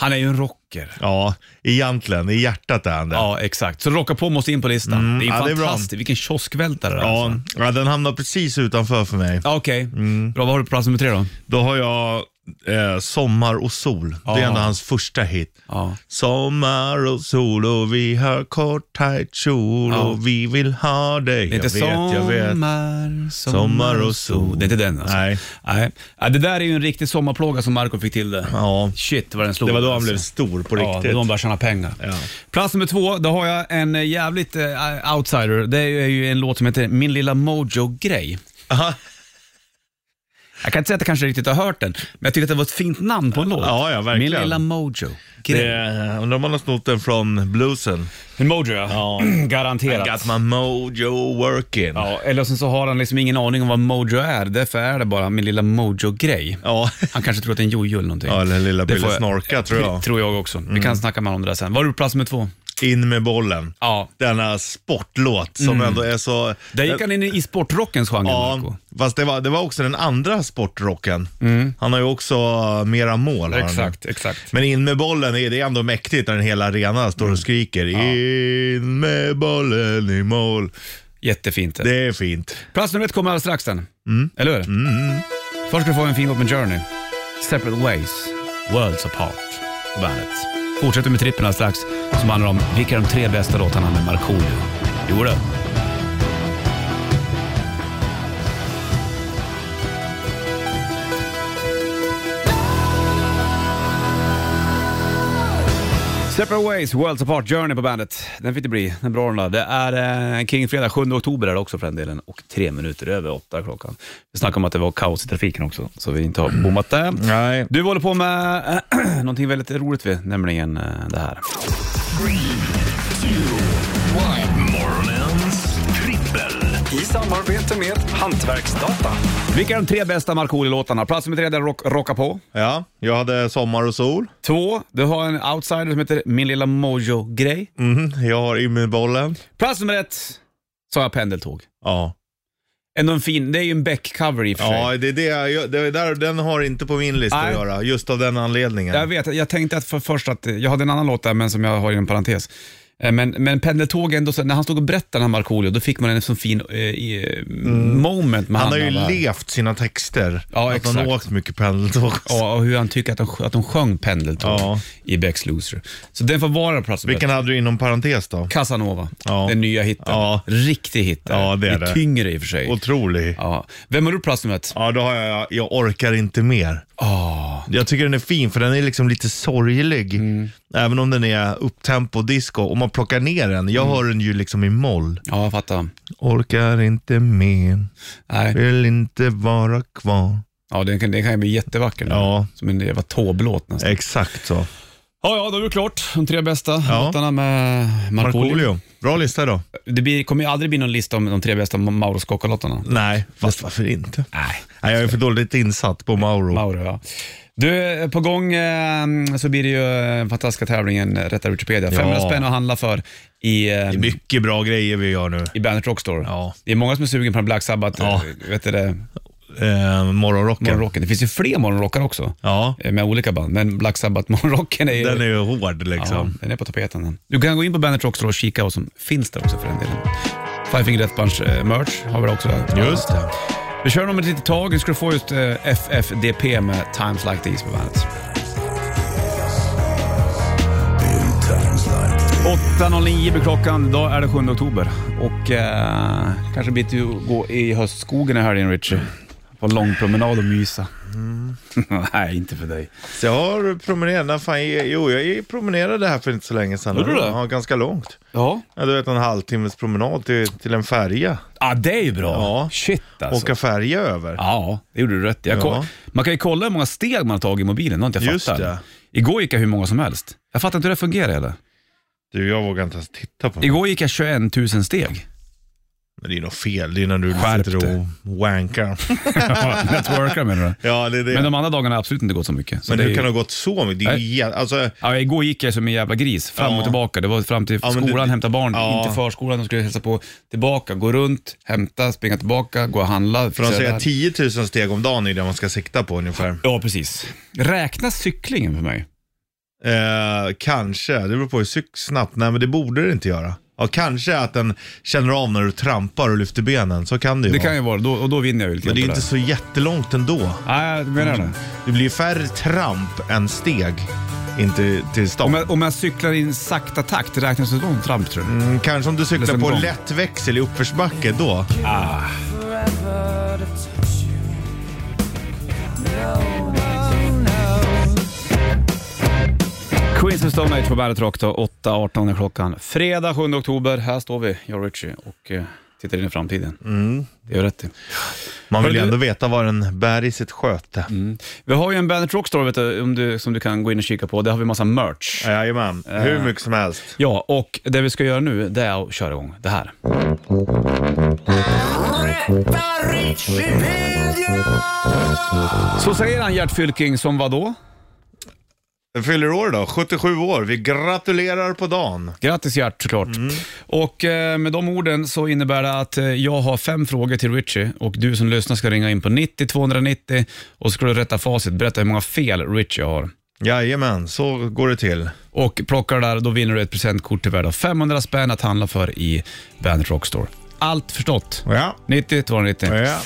Speaker 2: Han är ju en rocker.
Speaker 3: ja egentligen. I hjärtat är han det.
Speaker 2: Ja, exakt. Så rocka på måste in på listan. Det är ju
Speaker 3: Mm. ja, det är bra.
Speaker 2: fantastiskt. Vilken kioskvältare det är.
Speaker 3: Ja,
Speaker 2: Alltså.
Speaker 3: ja, den hamnar precis utanför för mig.
Speaker 2: Ja, Okej,
Speaker 3: Mm.
Speaker 2: bra. Vad har du på plats nummer tre då?
Speaker 3: Då har jag eh, Sommar och sol. Det är
Speaker 2: Ja.
Speaker 3: ändå hans första hit.
Speaker 2: Ja.
Speaker 3: Sommar och sol och vi har kort tajt kjol
Speaker 2: Ja.
Speaker 3: och vi vill ha dig.
Speaker 2: Det är
Speaker 3: Jag vet,
Speaker 2: inte
Speaker 3: jag vet.
Speaker 2: sommar,
Speaker 3: Sommar och sol.
Speaker 2: Det är inte den alltså?
Speaker 3: Nej.
Speaker 2: Nej. Ja, det där är ju en riktig sommarplåga som Marco fick till det.
Speaker 3: Ja.
Speaker 2: Shit vad den slog.
Speaker 3: Det var då han
Speaker 2: alltså.
Speaker 3: blev stor på
Speaker 2: Ja, det var
Speaker 3: riktigt.
Speaker 2: då han började tjäna pengar.
Speaker 3: Ja.
Speaker 2: Plats nummer två, då har jag en eh, jävligt eh, outsider. Det är ju- är ju en låt som heter Min lilla Mojo-grej.
Speaker 3: Aha.
Speaker 2: Jag kan inte säga att jag kanske riktigt har hört den, men jag tyckte att det var ett fint namn på en låt.
Speaker 3: Ja, ja, verkligen.
Speaker 2: Min lilla Mojo-grej.
Speaker 3: Det- Undrar om han har snott den från bluesen.
Speaker 2: En Mojo ja. Garanterat.
Speaker 3: Got my mojo working.
Speaker 2: Ja, eller sen så har han liksom ingen aning om vad Mojo är. Därför är det bara min lilla Mojo-grej.
Speaker 3: Ja.
Speaker 2: Han kanske tror att det är en jojo eller någonting.
Speaker 3: Ja, eller lilla
Speaker 2: Det
Speaker 3: Pille
Speaker 2: får jag-
Speaker 3: Snorka tror jag. Mm.
Speaker 2: Tror jag också. Vi kan snacka med om det där sen. Var är du på plats nummer två?
Speaker 3: In med bollen.
Speaker 2: Ja.
Speaker 3: Denna sportlåt som ändå är så...
Speaker 2: Mm. Där gick han in i sportrockens genre, Marco. Mm.
Speaker 3: Ja, fast det var, det var också den andra sportrocken. Han har ju också äh, mera mål. har han.
Speaker 2: exakt.
Speaker 3: Men in med bollen, är det är ändå mäktigt när en hel arena står
Speaker 2: Mm.
Speaker 3: och skriker in med bollen i mål.
Speaker 2: Jättefint.
Speaker 3: Det Mm. är fint.
Speaker 2: Plats nummer ett kommer alldeles strax sen. Eller hur? Först ska du få en fin låt med Journey. Separate Ways, Worlds Apart på bandet. Fortsätter med trippen alldeles strax som handlar om vilka är de tre bästa låtarna med Markoolio. Jo då. Separate Ways, Worlds Apart Journey på bandet. Den fick det bli. Den är bra den där. Det är eh, kring fredag 7 oktober är det också för den delen och tre minuter över åtta klockan. Vi snackade om att det var kaos i trafiken också, så vi inte har bommat det.
Speaker 3: Nej.
Speaker 2: Du håller på med äh, någonting väldigt roligt, vid, nämligen eh, det här.
Speaker 1: Morgonens trippel.
Speaker 8: I samarbete med Hantverksdata.
Speaker 2: Vilka är de tre bästa Markoolio-låtarna? Plats nummer tre, där rock, Rocka på.
Speaker 3: Ja, jag hade Sommar och sol.
Speaker 2: Två, du har en outsider som heter Min lilla Mojo-grej.
Speaker 3: Mhm, Jag har in med bollen.
Speaker 2: Plats nummer ett, sa jag pendeltåg.
Speaker 3: Ja.
Speaker 2: Ändå en fin, det är ju en Beck-cover i och för sig.
Speaker 3: Ja, det är det, jag- det är där, den har inte på min lista
Speaker 2: Nej.
Speaker 3: att göra, just av den anledningen.
Speaker 2: Jag vet, jag tänkte att för först att, jag hade en annan låt där men som jag har i en parentes. Eh, Men, men pendeltåg ändå, så- när han stod och berättade den här Markoolio, då fick man en sån fin eh, i, moment med
Speaker 3: Mm. Han har ju
Speaker 2: när var-
Speaker 3: levt sina texter.
Speaker 2: Ja,
Speaker 3: att han
Speaker 2: exakt.
Speaker 3: har åkt mycket pendeltåg.
Speaker 2: Ja, och hur han tycker att de, att de sjöng pendeltåg
Speaker 3: Ja.
Speaker 2: i Becks Loser. Så den får vara plats
Speaker 3: Vilken hade du inom parentes då?
Speaker 2: Casanova,
Speaker 3: Ja.
Speaker 2: den nya hitten.
Speaker 3: Ja.
Speaker 2: Riktig hit. där.
Speaker 3: Ja, det är
Speaker 2: Lite
Speaker 3: det.
Speaker 2: tyngre i och för sig.
Speaker 3: Otrolig.
Speaker 2: Ja. Vem har du på plats nummer ett?
Speaker 3: Ja, då har jag, jag orkar inte mer.
Speaker 2: Ah,
Speaker 3: Jag tycker den är fin för den är liksom lite sorglig.
Speaker 2: Mm.
Speaker 3: Även om den är upptempo disco. Om man plockar ner den, jag
Speaker 2: Mm.
Speaker 3: hör den ju liksom i moll.
Speaker 2: ja, jag fattar.
Speaker 3: Orkar inte mer,
Speaker 2: Nej.
Speaker 3: vill inte vara kvar.
Speaker 2: Ja, den, kan, den kan ju bli jättevacker. nu.
Speaker 3: Ja.
Speaker 2: Som en jävla tåblåt nästan.
Speaker 3: Exakt så.
Speaker 2: Ja, ja, då är det klart. De tre bästa
Speaker 3: Ja.
Speaker 2: låtarna med Markoolio.
Speaker 3: Markoolio, bra lista då.
Speaker 2: Det blir, kommer ju aldrig bli någon lista om de tre bästa Ma- Mauro Scocco-låtarna.
Speaker 3: Nej, fast varför inte?
Speaker 2: Nej.
Speaker 3: Nej, jag är för dåligt insatt på Mauro.
Speaker 2: Mauro, ja. Du, på gång eh, så blir det ju eh, den fantastiska tävlingen eh, Rätta Wikipedia. 500 spänn att handla för i, eh,
Speaker 3: Det är mycket bra grejer vi gör nu.
Speaker 2: i Bandet Rockstore.
Speaker 3: Ja.
Speaker 2: Det är många som är sugen på den Black Sabbath,
Speaker 3: Ja.
Speaker 2: eh, vet du det,
Speaker 3: Eh, morgonrocken.
Speaker 2: morgonrocken. Det finns ju fler morgonrockar också,
Speaker 3: Ja,
Speaker 2: eh, med olika band. Men Black Sabbath morgonrocken är ju...
Speaker 3: den är ju hård liksom.
Speaker 2: Ja, den är på tapeten. den. Du kan gå in på Bandet Rockstore och kika vad som finns där också för den delen. Five Finger Death Punch eh, merch har vi där också.
Speaker 3: Just det.
Speaker 2: Vi kör om ett litet tag. Nu ska du få just eh, FFDP med Times Like These på bandet. 8.09 blir klockan. Idag är det 7 oktober. Och eh, kanske blir det att gå i höstskogen i helgen, Richie. På en lång promenad och mysa. Mm. Nej, inte för dig.
Speaker 3: Så jag har promenerat, när fan, jo jag promenerade här för inte så länge sedan.
Speaker 2: Gjorde du det?
Speaker 3: Ja, ganska långt.
Speaker 2: Ja.
Speaker 3: Ja, du vet en halvtimmes promenad till, till en färja.
Speaker 2: Ah, det är ju bra.
Speaker 3: Ja.
Speaker 2: Shit alltså.
Speaker 3: Åka färja över.
Speaker 2: Ja, det gjorde du rätt i. jag
Speaker 3: Ja.
Speaker 2: koll- Man kan ju kolla hur många steg man har tagit i mobilen, det har inte jag
Speaker 3: Just
Speaker 2: fattat.
Speaker 3: det.
Speaker 2: Igår gick jag hur många som helst. Jag fattar inte hur det fungerar eller?
Speaker 3: Du, jag vågar inte ens titta på det.
Speaker 2: Igår gick jag 21 000 steg.
Speaker 3: Men det är något fel. Det är när du
Speaker 2: Skärp
Speaker 3: sitter och wankar.
Speaker 2: Networkar menar du?
Speaker 3: ja, det är det.
Speaker 2: Men
Speaker 3: Men,
Speaker 2: de andra dagarna har absolut inte gått så mycket. Så det är
Speaker 3: hur
Speaker 2: ju-
Speaker 3: kan det ha gått så mycket? Det är ju jä- alltså,
Speaker 2: Ja, igår gick jag som en jävla gris, fram och
Speaker 3: Ja.
Speaker 2: tillbaka. Det var fram till
Speaker 3: Ja, men det-
Speaker 2: skolan, hämta barn,
Speaker 3: Ja.
Speaker 2: inte förskolan, de skulle hälsa på, tillbaka, gå runt, hämta, springa tillbaka, gå och handla.
Speaker 3: för de
Speaker 2: fixa det
Speaker 3: säger
Speaker 2: där.
Speaker 3: att 10 000 steg om dagen är det man ska sikta på ungefär.
Speaker 2: Ja, precis. Räknas cyklingen för mig?
Speaker 3: Eh, kanske, det beror på hur cyk- snabbt. Nej, men det borde det inte göra. Ja, kanske att den känner av när du trampar och lyfter benen. Så kan det ju
Speaker 2: Det
Speaker 3: vara.
Speaker 2: kan ju vara, då, och då vinner jag ju lite
Speaker 3: Men det är
Speaker 2: grann
Speaker 3: ju
Speaker 2: på
Speaker 3: inte
Speaker 2: här.
Speaker 3: så jättelångt ändå.
Speaker 2: Nej, jag menar det.
Speaker 3: Det blir ju färre tramp än steg in till, till
Speaker 2: Om
Speaker 3: stan.
Speaker 2: jag, om jag cyklar i en sakta takt, räknas det som tramp tror du?
Speaker 3: Mm, Kanske om du
Speaker 2: Eller
Speaker 3: cyklar
Speaker 2: som
Speaker 3: på
Speaker 2: gång.
Speaker 3: lätt växel i uppförsbacke då.
Speaker 2: Queens of Stone Age på Bandet Rock då, 8.18 är klockan. Fredag 7 oktober, här står vi, jag och Richie, och eh, tittar in i framtiden. Det är rätt i.
Speaker 3: Man vill ju
Speaker 2: Hörru,
Speaker 3: ändå veta vad den bär i sitt sköte.
Speaker 2: Mm. Vi har ju en Bandet Rockstore vet du, om du, som du kan gå in och kika på. Där har vi massa merch.
Speaker 3: Jajamän,
Speaker 2: Eh.
Speaker 3: hur mycket som helst.
Speaker 2: Ja, och det vi ska göra nu, det är att köra igång det här. Så säger han Gert Fylking som vadå?
Speaker 3: Den fyller år då, 77 år. Vi gratulerar på dagen.
Speaker 2: Grattis Gert såklart.
Speaker 3: Mm.
Speaker 2: Och eh, med de orden så innebär det att eh, jag har fem frågor till Richie och du som lyssnar ska ringa in på 90 290 och så ska du rätta facit, berätta hur många fel Richie har.
Speaker 3: Jajamän, så går det till.
Speaker 2: Och plockar där, då vinner du ett presentkort till värde av 500 spänn att handla för i Bandet Rockstore. Allt förstått.
Speaker 3: Ja.
Speaker 2: 90 290.
Speaker 3: ja.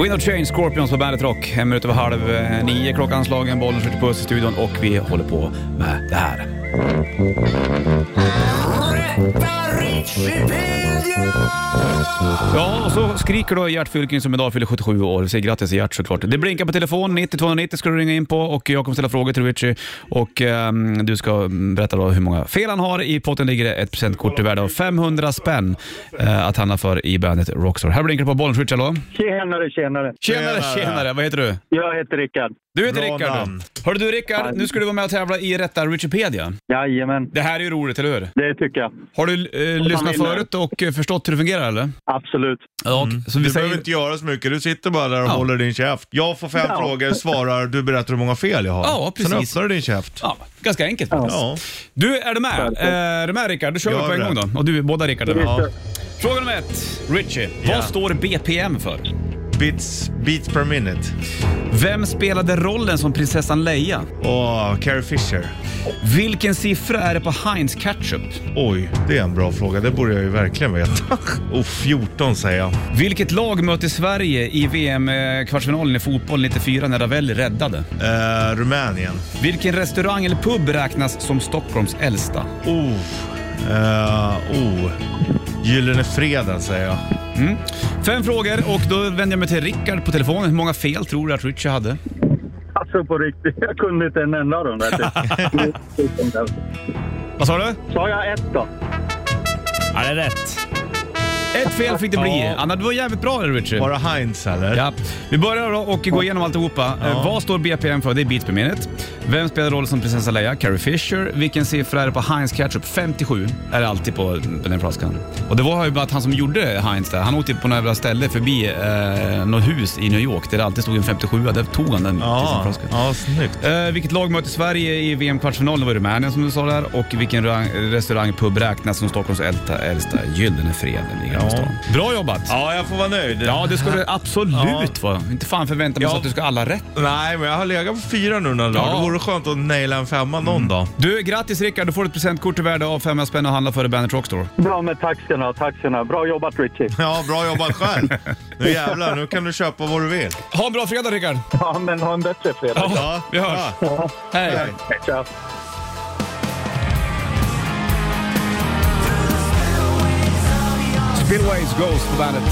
Speaker 2: Wind of Change, Scorpions på Bandet Rock. En minut över halv eh, nio klockan slagen, bollen skjuter puss i studion och vi håller på med det här. Ja, och så skriker då Gert Fylking som idag fyller 77 år. Vi säger grattis till Gert såklart. Det blinkar på telefon, 90 290 ska du ringa in på och jag kommer ställa frågor till Richie. Och ehm, du ska mm, berätta då hur många fel han har. I potten ligger det ett presentkort i värde av 500 spänn eh, att handla för i bandet Rockstar. Här blinkar det på bollen, Richie, hallå?
Speaker 7: Tjenare, tjenare.
Speaker 2: Tjenare, tjenare! Vad heter du?
Speaker 7: Jag heter Rickard.
Speaker 2: Du heter
Speaker 3: Bra
Speaker 2: Rickard.
Speaker 3: namn.
Speaker 2: Hörru du Rickard, nu ska du vara med och tävla i Rätta Wikipedia.
Speaker 7: Jajamän,
Speaker 2: Det här är ju roligt, eller hur?
Speaker 7: det tycker jag.
Speaker 2: Har du eh, lyssnat
Speaker 9: vinner.
Speaker 2: förut och eh, förstått hur det fungerar eller?
Speaker 9: Absolut.
Speaker 2: Ja, okej. så vi
Speaker 3: Mm. Du
Speaker 2: säger...
Speaker 3: behöver inte göra så mycket, du sitter bara där och
Speaker 2: Ja.
Speaker 3: håller din käft. Jag får fem
Speaker 9: Ja.
Speaker 3: frågor, svarar, du berättar hur många fel jag har.
Speaker 2: Ja, precis.
Speaker 3: Sen öppnar du din käft.
Speaker 2: Ja, ganska enkelt faktiskt.
Speaker 3: Ja.
Speaker 2: Du, är du med? Eh, Är du med Rickard? Då kör vi
Speaker 3: Jag
Speaker 2: på
Speaker 3: är
Speaker 2: en
Speaker 3: med.
Speaker 2: gång då. Och du, båda Rickard är med.
Speaker 3: Ja.
Speaker 2: Fråga nummer ett. Richie,
Speaker 3: Ja.
Speaker 2: vad står BPM för?
Speaker 3: Beats, beats per minute.
Speaker 2: Vem spelade rollen som prinsessan Leia?
Speaker 3: Åh, Carrie Fisher.
Speaker 2: Vilken siffra är det på Heinz ketchup?
Speaker 3: Oj, det är en bra fråga. Det borde jag ju verkligen veta. Oh, 14 säger jag.
Speaker 2: Vilket lag möter Sverige i VM-kvartsfinalen i fotboll 94 när Ravelli räddade?
Speaker 3: Eh, Rumänien.
Speaker 2: Vilken restaurang eller pub räknas som Stockholms äldsta?
Speaker 3: Oh, eh, oh. Gyllene Freden säger jag.
Speaker 2: Fem frågor och då vänder jag mig till Rickard på telefonen. Hur många fel tror du att Richie hade?
Speaker 9: Alltså på riktigt, jag kunde inte en enda av dem där.
Speaker 2: Vad sa du?
Speaker 9: Sa jag ett då?
Speaker 2: Ja, det är rätt. Ett fel fick det bli.
Speaker 3: Ja.
Speaker 2: Anna, du var jävligt bra där Richie.
Speaker 3: Var det Heinz eller?
Speaker 2: Ja. Vi börjar då och går igenom alltihopa. Ja. Vad står BPM för? Det är beats per minute. Vem spelar rollen som prinsessa Leia? Carrie Fisher. Vilken siffra är det på Heinz ketchup? 57 är det alltid på på den flaskan. Och det var ju bara att han som gjorde Heinz där, han åkte på några jävla ställe förbi eh, något hus i New York där det alltid stod en 57 Där tog han den till sin
Speaker 3: Ja,
Speaker 2: flaska.
Speaker 3: ja snyggt.
Speaker 2: Eh, vilket lag möter Sverige i VM-kvartsfinalen? Det var Rumänien som du sa där. Och vilken ra- restaurang, pub räknas som Stockholms äldsta, äldsta Gyllene Freden i Gamla
Speaker 3: Ja.
Speaker 2: stan? Bra jobbat!
Speaker 3: Ja, jag får vara nöjd.
Speaker 2: Ja, det ska du absolut
Speaker 3: Ja.
Speaker 2: vara. Inte fan förväntar man sig
Speaker 3: Ja.
Speaker 2: att du ska ha alla rätt.
Speaker 3: Nej, men jag har legat på fyra nu några dagar.
Speaker 2: Ja. Mm.
Speaker 3: Det vore skönt att naila en femma någon dag.
Speaker 2: Du, grattis Rickard. Du får ett presentkort till värde av 500 spänn och handla före Bandet Rockstore.
Speaker 9: Bra med taxerna, taxerna. Bra jobbat Richie.
Speaker 3: Ja, bra jobbat själv. Nu jävlar, nu kan du köpa vad du vill.
Speaker 2: Ha en bra fredag Rickard.
Speaker 9: Ja, men ha en bättre fredag.
Speaker 3: Ja,
Speaker 2: vi hörs.
Speaker 3: Ja.
Speaker 2: Hej.
Speaker 9: Ciao.
Speaker 2: Spillways Ghost på Bandet.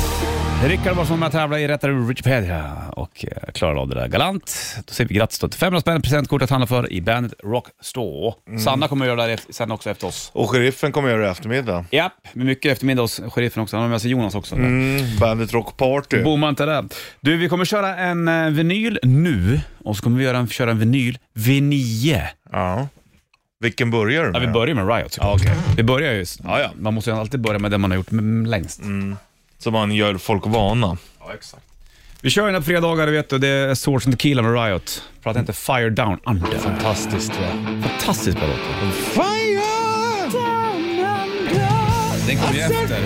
Speaker 2: Rickard var som med att tävla i Rättare Wikipedia och eh, klarade av det där galant. Då säger vi grattis då till 500 spänn presentkort att handla för i Bandet Rockstore. Sanna kommer göra det sen också efter oss.
Speaker 3: Och sheriffen kommer göra i eftermiddag.
Speaker 2: Japp, med mycket eftermiddag hos sheriffen också. Han har med sig Jonas också.
Speaker 3: Mm, Bandit Rock Party.
Speaker 2: Bommar inte där. Du, vi kommer köra en eh, vinyl nu och så kommer vi göra en, köra en vinyl V9.
Speaker 3: Ja. Vilken börjar du
Speaker 2: Ja,
Speaker 3: med?
Speaker 2: vi börjar med Riot såklart.
Speaker 3: okej.
Speaker 2: Vi börjar ju...
Speaker 3: Ja, ja.
Speaker 2: Man måste ju alltid börja med det man har gjort mm, längst.
Speaker 3: Så man gör folk vana.
Speaker 2: Vi kör den här på fredagar, du vet du. Det är Swords and Tequila med Riot. Prata inte Fire Down Under.
Speaker 3: Fantastiskt va?
Speaker 2: Fantastiskt bra låt.
Speaker 3: Fire!
Speaker 2: Den kommer ju efter.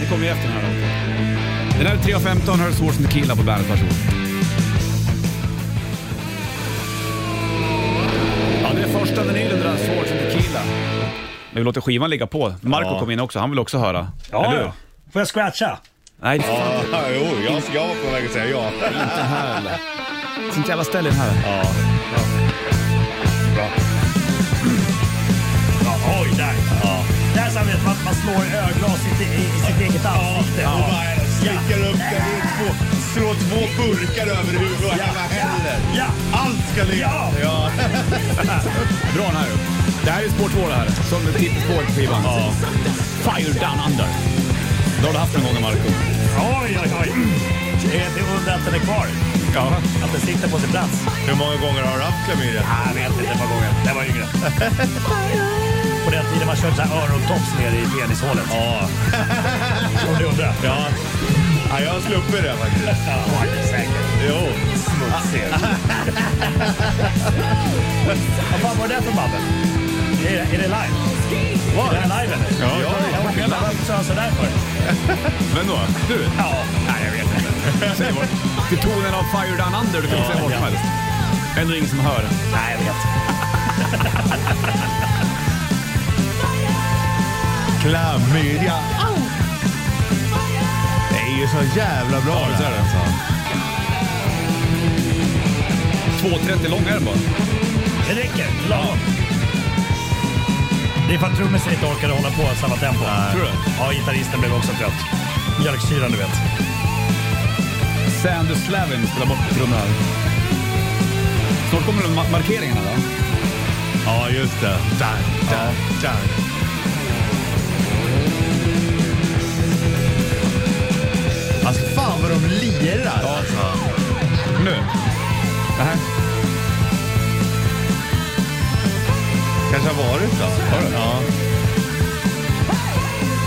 Speaker 2: Det kommer ju efter den här låten. Den här är 3.15, här är Swords and Tequila på bandet. Varsågod. Ja, det är första vinylen det där, Swords and Tequila. Men vi låter skivan ligga på. Marco
Speaker 3: Ja.
Speaker 2: kom in också, han vill också höra.
Speaker 10: Ja,
Speaker 2: Eller hur?
Speaker 10: ja. Får jag scratcha?
Speaker 2: Nej, det är
Speaker 3: Ja, jo, jag, jag var på väg att säga ja.
Speaker 2: inte här eller? Sånt jävla ställe i den här.
Speaker 3: Ja.
Speaker 10: Ja, oj, där. Där ser man att man- man slår öglas i, i, i sitt eget ansikte.
Speaker 3: Och bara slickar upp den i två, slår två burkar över huvudet och hela heller.
Speaker 10: Ja,
Speaker 3: Allt ska ligga. Ja.
Speaker 2: Bra den här ju. Det här är spår två det här. Som ett tippspår på skivan. Fire Down Under. Det har du haft en gång Marco.
Speaker 10: oj, oj, oj. Det är det är under att den är kvar.
Speaker 2: Ja.
Speaker 10: Att den sitter på sin plats.
Speaker 3: Hur många gånger har du haft klamydia?
Speaker 10: Ah, Jag vet inte, ett par gånger. Det var yngre. På den tiden man körde så här örontops ner i penishålet. Ja. Om du undrar.
Speaker 3: Ja. ja, jag har sluppit det faktiskt.
Speaker 10: Ja, säkert.
Speaker 3: Jo.
Speaker 10: Smutsigt. Vad fan var det där för babbel? Är, det- är det live? Var det här live eller?
Speaker 3: Ja, ja.
Speaker 10: Jag undrar varför sa han sådär för?
Speaker 2: Men då, du.
Speaker 10: Ja, nej, jag vet inte.
Speaker 2: Säg vad. Till tonen av Fire Down Under. Du kan säga vad som
Speaker 10: ja.
Speaker 2: helst. Ändå ingen som hör.
Speaker 10: Nej, jag vet.
Speaker 3: Klamydia. Det är ju så jävla bra det här. Alltså.
Speaker 2: 2.30 lång är den bara.
Speaker 10: Det räcker. Lagom. Det är för att trummisen inte orkade hålla på i samma tempo.
Speaker 2: Tror du?
Speaker 10: Ja, gitarristen blev också trött. Mjölksyran, du vet.
Speaker 2: Sandus Slavin spelar bort trummorna. här. Snart kommer de ma- markeringarna va?
Speaker 3: Ja, just det. Dang, dang, dang. Alltså fan vad de lirar. Alltså.
Speaker 2: Nu. Det här.
Speaker 3: Kan kanske har varit då. Ja.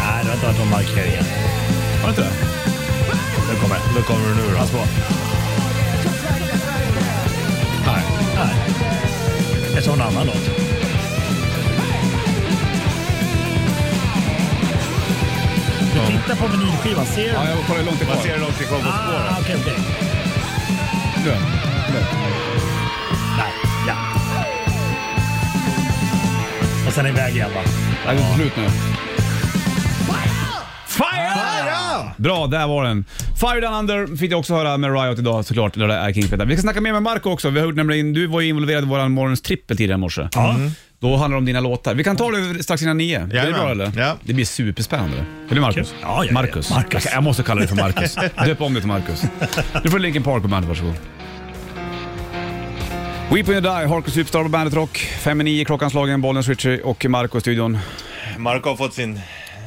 Speaker 10: Nej, det har inte varit någon markering än.
Speaker 2: Har du inte det?
Speaker 10: Nu kommer det.
Speaker 3: Nu kommer det nu då.
Speaker 10: Pass på. Nej. Nej. Jag tar en annan låt. Du tittar på vinylskivan, ser du?
Speaker 2: Ja, jag kollar hur långt det är
Speaker 3: Man
Speaker 2: kvar.
Speaker 3: ser hur långt det kommer på spåren.
Speaker 10: Ah, okej, okej.
Speaker 2: Du. Du.
Speaker 10: Nej, ja. Och sen iväg igen va?
Speaker 2: Det är lite slut nu. Fire! Bra, där var den. Fire Down Under fick jag också höra med Riot idag såklart, när det är Kingpetan. Vi ska snacka mer med Marco också. Vi har hört nämligen, du var ju involverad i vår morgons trippel tidigare i morse.
Speaker 10: Ja.
Speaker 2: Då handlar det om dina låtar. Vi kan ta det strax innan nio. Blir det
Speaker 3: Jajamän.
Speaker 2: bra eller?
Speaker 3: Ja.
Speaker 2: Det blir superspännande. Eller Marcus?
Speaker 10: Kul. Ja, ja, ja.
Speaker 2: Marcus.
Speaker 10: Marcus.
Speaker 2: Jag måste kalla dig för Marcus. Döp om dig till Marcus. Du får Linkin Park på bandet, varsågod. Weep When You Die, Harkus Superstar på Bandet Rock. Fem i nio, klockan slagen, Bollnäs, Richie och Marco i studion.
Speaker 3: Ah. Marco har fått sin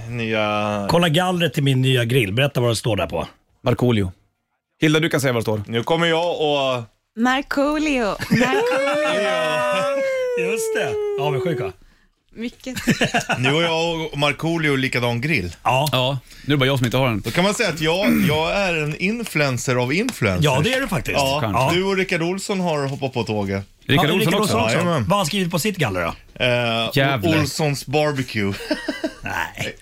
Speaker 3: nya...
Speaker 10: Kolla gallret till min nya grill. Berätta vad det står där på.
Speaker 2: Markoolio. Hilda, du kan säga vad det står.
Speaker 3: Nu kommer jag och...
Speaker 11: Markoolio. Markoolio.
Speaker 10: Just det. Avundsjuka.
Speaker 11: Mycket.
Speaker 3: Nu har jag och Markoolio likadan grill.
Speaker 10: Ja.
Speaker 2: Ja. Nu är det bara jag som inte har den.
Speaker 3: Då kan man säga att jag, jag är en influencer av influencers.
Speaker 10: ja, det är det faktiskt.
Speaker 3: Ja,
Speaker 10: Ja.
Speaker 3: du och Rickard Olsson har hoppat på tåget.
Speaker 2: Rickard
Speaker 10: Ja,
Speaker 2: Olsson
Speaker 10: Rickard
Speaker 2: också.
Speaker 3: också.
Speaker 10: Vad
Speaker 3: Jajamän.
Speaker 10: har han skrivit på sitt galler då?
Speaker 3: Eh,
Speaker 2: Jävlar.
Speaker 3: Olssons barbecue.
Speaker 10: Nej,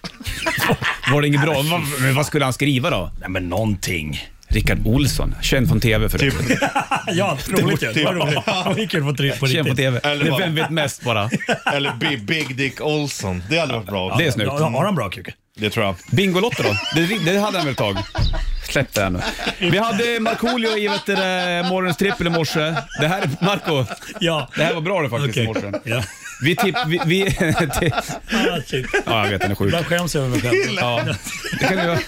Speaker 2: Var det inget bra? Vad- Men vad skulle han skriva då?
Speaker 10: Nej men någonting.
Speaker 2: Rickard Olsson, känd från TV för
Speaker 3: Typ.
Speaker 10: Ja, roligt ju. Det var roligt. Det gick kul på, tri- på
Speaker 2: Känd från
Speaker 10: riktigt.
Speaker 2: TV.
Speaker 3: Eller vad?
Speaker 2: Vem vet mest bara?
Speaker 3: Eller Big, Big Dick Olsson. Det hade varit bra.
Speaker 2: Det är
Speaker 10: Ja,
Speaker 2: snyggt.
Speaker 10: har han bra kuk?
Speaker 3: Det tror jag.
Speaker 2: Bingolotto då? Det, det hade han väl ett tag? Släpp det här nu. Vi hade Markoolio i vet du, det, morgonens trippel i morse. Det här, Marco,
Speaker 10: Ja.
Speaker 2: det här var bra det faktiskt i morse.
Speaker 10: Ja.
Speaker 2: Vi tipp... Vi, vi, ti-
Speaker 10: Ah, shit.
Speaker 2: ja, jag vet, den är sjuk.
Speaker 10: Ibland skäms jag över mig själv.
Speaker 2: Ja. Det kan du göra.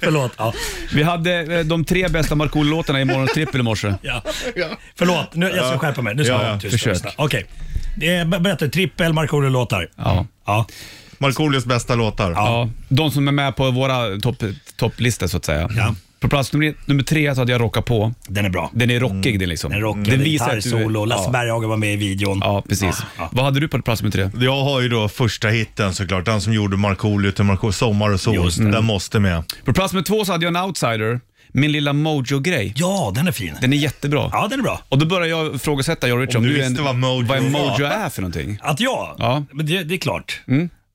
Speaker 10: Förlåt. Ja.
Speaker 2: Vi hade eh, de tre bästa Markoolio-låtarna i morgonens trippel i morse.
Speaker 10: Ja. Förlåt, nu, jag ska skärpa mig. Nu ska
Speaker 3: Ja,
Speaker 10: jag
Speaker 3: ja.
Speaker 10: vara tyst.
Speaker 2: Försök.
Speaker 10: och lyssna. Okej. Det är- ber- Berätta, trippel Markoolio-låtar.
Speaker 2: Ja.
Speaker 10: Ja.
Speaker 3: Markoolios bästa låtar.
Speaker 2: Ja, de som är med på våra topp- topplistor så att säga.
Speaker 10: Ja.
Speaker 2: På plats nummer, nummer tre så hade jag Rocka på.
Speaker 10: Den är bra.
Speaker 2: Den är rockig den liksom.
Speaker 10: Den rockar.
Speaker 2: Den
Speaker 10: Den
Speaker 2: visar att du-
Speaker 10: Gitarrsolo. Lasse
Speaker 2: ja.
Speaker 10: Berghagen var med i videon.
Speaker 2: Ja, precis.
Speaker 10: Ja.
Speaker 2: Vad hade du på plats nummer tre?
Speaker 3: Jag har ju då första hitten såklart. Den som gjorde Markoolio till Markoolio. Sommar och sol.
Speaker 10: Just det.
Speaker 3: Den måste med.
Speaker 2: På plats nummer två så hade jag en outsider, min lilla mojo-grej.
Speaker 10: Ja, den är fin.
Speaker 2: Den är jättebra.
Speaker 10: Ja, den är bra.
Speaker 2: Och då började jag ifrågasätta, jag och Richard,
Speaker 3: Om du
Speaker 2: är
Speaker 3: visste vad mojo
Speaker 2: vad en
Speaker 3: var.
Speaker 2: mojo är för någonting.
Speaker 10: Att jag?
Speaker 2: Ja. Mm.
Speaker 10: Men det, det är klart.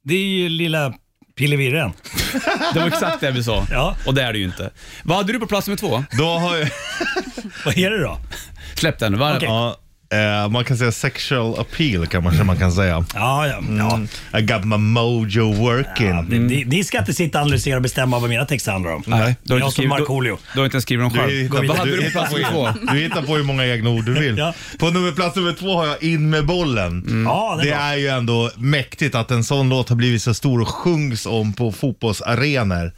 Speaker 10: Det är ju lilla pillevirren.
Speaker 2: Det var exakt det vi sa.
Speaker 10: Ja.
Speaker 2: Och det är det ju inte. Vad hade du på plats nummer två?
Speaker 3: Då har jag...
Speaker 10: Vad är det då?
Speaker 2: Släpp den. Var,
Speaker 10: Okej.
Speaker 3: Ja, eh, man kan säga sexual appeal kan man, man kan säga.
Speaker 10: Ja, ja. ja.
Speaker 3: I got my mojo
Speaker 10: ja
Speaker 3: working.
Speaker 10: ni, ni- ni ska inte sitta och analysera och bestämma vad mina texter handlar om.
Speaker 2: Mm. Nej, du har
Speaker 10: Jag
Speaker 2: inte
Speaker 10: som
Speaker 2: skrivit,
Speaker 10: Markoolio.
Speaker 2: Du, du har inte ens skrivit dem
Speaker 3: Du
Speaker 2: själv.
Speaker 3: hittar-
Speaker 2: Vad hade du på
Speaker 3: hittar
Speaker 2: plats nummer två?
Speaker 3: på- du hittar på hur många egna ord du vill.
Speaker 10: Ja. Mm.
Speaker 3: På nummer, plats nummer två har jag In med bollen.
Speaker 10: Ja, den
Speaker 3: Det
Speaker 10: är bra.
Speaker 3: är ju ändå mäktigt att en sån låt har blivit så stor och sjungs om på fotbollsarenor.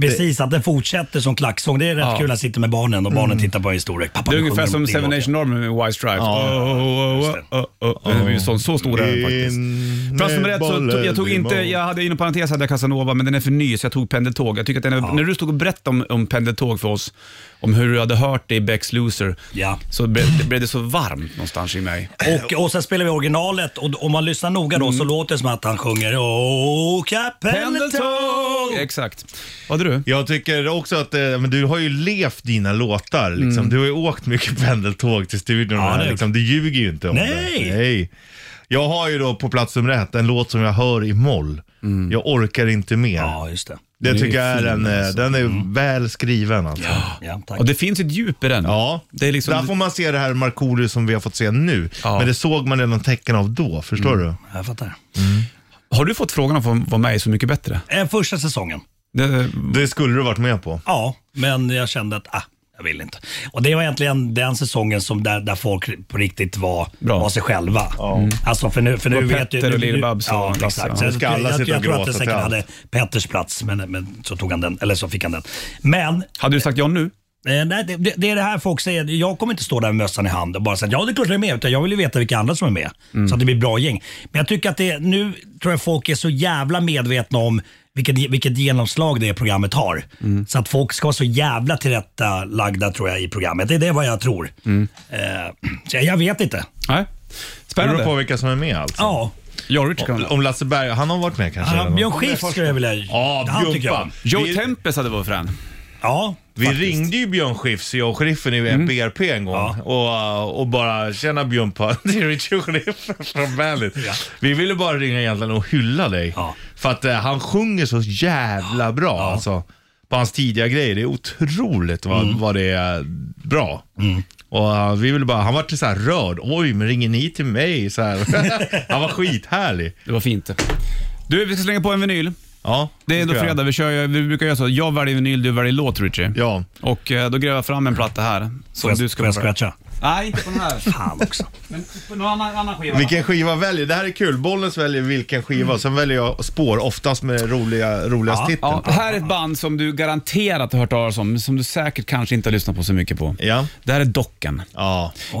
Speaker 10: Precis, att den fortsätter som klacksång. Det är rätt kul att sitta med barnen och barnen tittar på en historia.
Speaker 2: Mm.
Speaker 10: Pappa,
Speaker 2: Det är
Speaker 10: nu
Speaker 2: ungefär
Speaker 10: sjunger
Speaker 2: som
Speaker 10: de din
Speaker 2: Seven
Speaker 10: låt.
Speaker 2: Nation Army med White Stripes. Oh, oh, oh, oh, oh, oh. Den är ju så, så stor är den faktiskt.
Speaker 3: In
Speaker 2: Plats nummer ett, så
Speaker 3: bollen
Speaker 2: tog, jag tog
Speaker 3: i
Speaker 2: inte,
Speaker 3: mål.
Speaker 2: jag hade inom parentes hade jag Casanova, men den är för ny så jag tog pendeltåg. Jag tycker att den är, När du stod och berättade om, om pendeltåg för oss, om hur du hade hört det i Becks Loser,
Speaker 10: Ja.
Speaker 2: så blev det, blev det så varmt någonstans i mig.
Speaker 10: Och, och sen spelar vi originalet och om man lyssnar noga
Speaker 2: Mm.
Speaker 10: då så låter det som att han sjunger Åka pendeltåg.
Speaker 2: Exakt. Vad hade du?
Speaker 3: Jag tycker också att eh, men du har ju levt dina låtar. Liksom. Du har ju åkt mycket pendeltåg till studion.
Speaker 10: Ja,
Speaker 3: och det här,
Speaker 10: det-
Speaker 3: liksom. Du ljuger ju inte om
Speaker 10: Nej!
Speaker 3: det. Nej! Jag har ju då på plats nummer ett en låt som jag hör i moll. Jag orkar inte mer.
Speaker 10: Ja, just det.
Speaker 3: det
Speaker 2: Den är
Speaker 3: tycker jag är
Speaker 2: fin,
Speaker 3: en, eh,
Speaker 2: alltså.
Speaker 3: den är väl skriven alltså. Ja.
Speaker 10: Ja, tack.
Speaker 2: Och det finns ett djup i den. Det är liksom,
Speaker 3: Där får man se det här Markoolio som vi har fått se nu.
Speaker 2: Ja.
Speaker 3: Men det såg man redan tecken av då, förstår du?
Speaker 10: Jag fattar.
Speaker 2: Har du fått frågan om att få vara med i Så mycket bättre?
Speaker 10: Eh, Första säsongen.
Speaker 2: Det,
Speaker 3: Det skulle du varit med på.
Speaker 10: Ja, men jag kände att ah, jag vill inte. Och Det var egentligen den säsongen som där, där folk på riktigt var,
Speaker 2: Bra.
Speaker 10: var sig själva. Alltså för nu, för nu
Speaker 2: Det var
Speaker 10: vet
Speaker 2: Petter
Speaker 10: du,
Speaker 2: och
Speaker 10: nu- nu-
Speaker 2: Lill-Babs och
Speaker 10: Ja,
Speaker 2: Lasse, ja.
Speaker 10: exakt. Så
Speaker 3: Nu
Speaker 10: jag,
Speaker 3: ska alla
Speaker 10: jag, jag,
Speaker 3: sitta och
Speaker 10: tror att
Speaker 3: gråta
Speaker 10: det
Speaker 3: till
Speaker 10: säkert
Speaker 3: allt.
Speaker 10: hade Petters plats, men, men så tog han den, eller så fick han den. Men
Speaker 2: hade du sagt ja nu?
Speaker 10: Eh, nej, det, det är det här folk säger. Jag kommer inte stå där med mössan i hand och bara säga ja det är klart jag är med. Utan jag vill ju veta vilka andra som är med. Så att det blir bra gäng. Men jag tycker att det, nu tror jag folk är så jävla medvetna om vilket, vilket genomslag det programmet har. Så att folk ska vara så jävla tillrättalagda tror jag i programmet. Det är det vad jag tror. Eh, så jag, jag vet inte.
Speaker 2: Nej.
Speaker 3: Det beror på vilka som är med alltså.
Speaker 10: Ja.
Speaker 2: Ja, Richard kan
Speaker 3: Om- Om Lasse Berg, han har varit med kanske?
Speaker 10: Ja,
Speaker 3: eller något?
Speaker 10: Björn Skifs skulle jag vilja...
Speaker 3: Ja,
Speaker 10: Han tycker jag
Speaker 3: Björn
Speaker 10: om.
Speaker 2: Joe Tempest hade varit frän.
Speaker 10: Ja,
Speaker 3: Vi ringde ju Björn Skifs, jag och sheriffen i
Speaker 2: Mm.
Speaker 3: BRP en gång och, och bara “Tjena Björnpa, det är Richard Sheriffen från Bandit”. Vi ville bara ringa egentligen och hylla dig. För att eh, han sjunger så jävla bra alltså. På hans tidiga grejer, det är otroligt vad,
Speaker 2: Mm.
Speaker 3: vad det är eh, bra. Och eh, vi ville bara, han var så här rörd. Oj, men ringer ni till mig? Så här. han var skithärlig.
Speaker 2: Det var fint. Du, vi ska slänga på en vinyl.
Speaker 3: Ja,
Speaker 2: Det är då
Speaker 3: ska jag.
Speaker 2: fredag. Vi, kör, ju- vi brukar göra så. Jag väljer vinyl, du väljer låt, Richie.
Speaker 3: Ja.
Speaker 2: Och eh, då gräver jag fram en platta här.
Speaker 10: Får
Speaker 2: Som
Speaker 10: jag,
Speaker 2: du ska
Speaker 10: får jag
Speaker 2: få välja.
Speaker 10: scratcha?
Speaker 2: Nej, inte på den här.
Speaker 10: Fan också.
Speaker 2: Men på någon annan, annan skiva.
Speaker 3: Vilken skiva väljer? Det här är kul. Bollens väljer vilken skiva. Sen väljer jag spår, oftast med roliga, roligast
Speaker 10: Ja,
Speaker 3: titeln.
Speaker 2: Mm. Ja,
Speaker 3: Ja.
Speaker 2: här är ett band som du garanterat har hört talas om, men som du säkert kanske inte har lyssnat på så mycket på.
Speaker 3: Ja.
Speaker 2: Det här är Docken.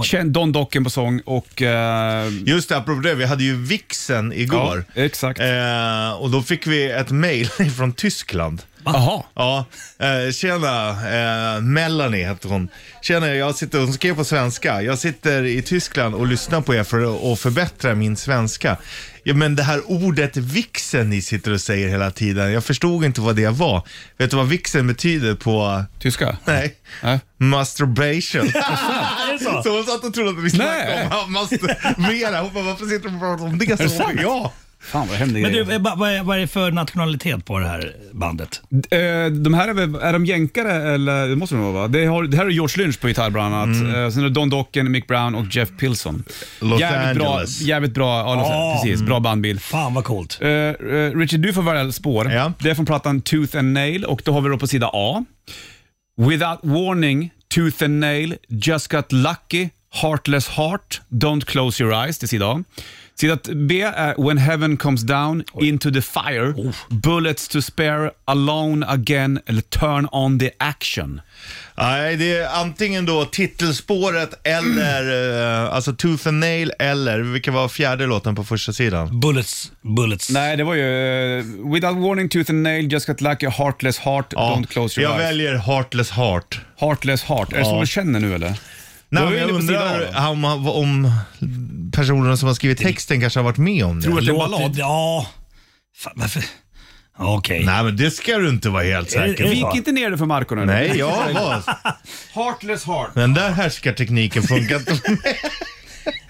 Speaker 2: Känd Don Docken på sång och... eh,
Speaker 3: Just det, apropå det. Vi hade ju vixen igår.
Speaker 2: Ja, exakt.
Speaker 3: Eh, och då fick vi ett mail från Tyskland.
Speaker 2: Jaha.
Speaker 3: Ja, eh, tjena. Eh, Melanie heter hon. Tjena, jag sitter, hon skrev på svenska. Jag sitter i Tyskland och lyssnar på er för att förbättra min svenska. Ja, men det här ordet vixen ni sitter och säger hela tiden. Jag förstod inte vad det var. Vet du vad vixen betyder på...
Speaker 2: Tyska? Äh,
Speaker 3: Nej.
Speaker 2: Nej.
Speaker 3: Masturbation.
Speaker 10: så?
Speaker 3: så hon satt och trodde att vi snackade
Speaker 2: Nej.
Speaker 3: om han masturbera. Hon bara, varför sitter de och pratar om det? Så,
Speaker 2: sant?
Speaker 3: ja.
Speaker 2: Fan vad hemlig
Speaker 10: Men
Speaker 2: grej.
Speaker 10: du, eh, ba- vad är, vad är det för nationalitet på det här bandet?
Speaker 2: Eh, de här är, väl, är de jänkare eller? Det måste de vara va? Det, har, det här är George Lynch på gitarr bland annat. Eh, sen är det Don Docken, Mick Brown och Jeff Pilson.
Speaker 3: Mm. Los
Speaker 2: jävligt
Speaker 3: Angeles. Ah.
Speaker 2: Bra, jävligt bra, ja, Los
Speaker 10: Ja.
Speaker 2: precis. Bra bandbild.
Speaker 10: Fan vad coolt.
Speaker 2: Eh, eh, Richard, du får välja spår.
Speaker 3: Ja.
Speaker 2: Det är från plattan Tooth and Nail och då har vi då på sida A. Without warning, Tooth and Nail, Just got lucky, Heartless heart, Don't close your eyes, till sida A. Sida t- B är When heaven comes down, Into the fire, Bullets to spare, Alone again eller Turn on the action.
Speaker 3: Nej, det är antingen då titelspåret eller eh, alltså Tooth and Nail eller vilken var fjärde låten på första sidan?
Speaker 10: Bullets, bullets.
Speaker 2: Nej, det var ju eh, Without warning, Tooth and Nail, Just got lucky, Heartless heart, Don't close your
Speaker 3: jag
Speaker 2: eyes.
Speaker 3: väljer Heartless Heart.
Speaker 2: Heartless heart, är det så
Speaker 3: Ja.
Speaker 2: du känner nu eller?
Speaker 3: Nej,
Speaker 2: är
Speaker 3: men
Speaker 2: vi
Speaker 3: jag
Speaker 2: inne på sidan A
Speaker 3: undrar om, om personerna som har skrivit texten kanske har varit med om det.
Speaker 2: Tror du att det är en
Speaker 10: Låter-
Speaker 2: ballad?
Speaker 10: Ja. Fan, varför? Okej.
Speaker 3: Nej, men det ska du inte vara helt
Speaker 10: Är-
Speaker 3: säker
Speaker 10: är-
Speaker 3: på.
Speaker 2: Vik inte ner det för Marko nu.
Speaker 3: Nej, jag var...
Speaker 2: Heartless heart.
Speaker 3: Den där härskartekniken funkar inte för mig.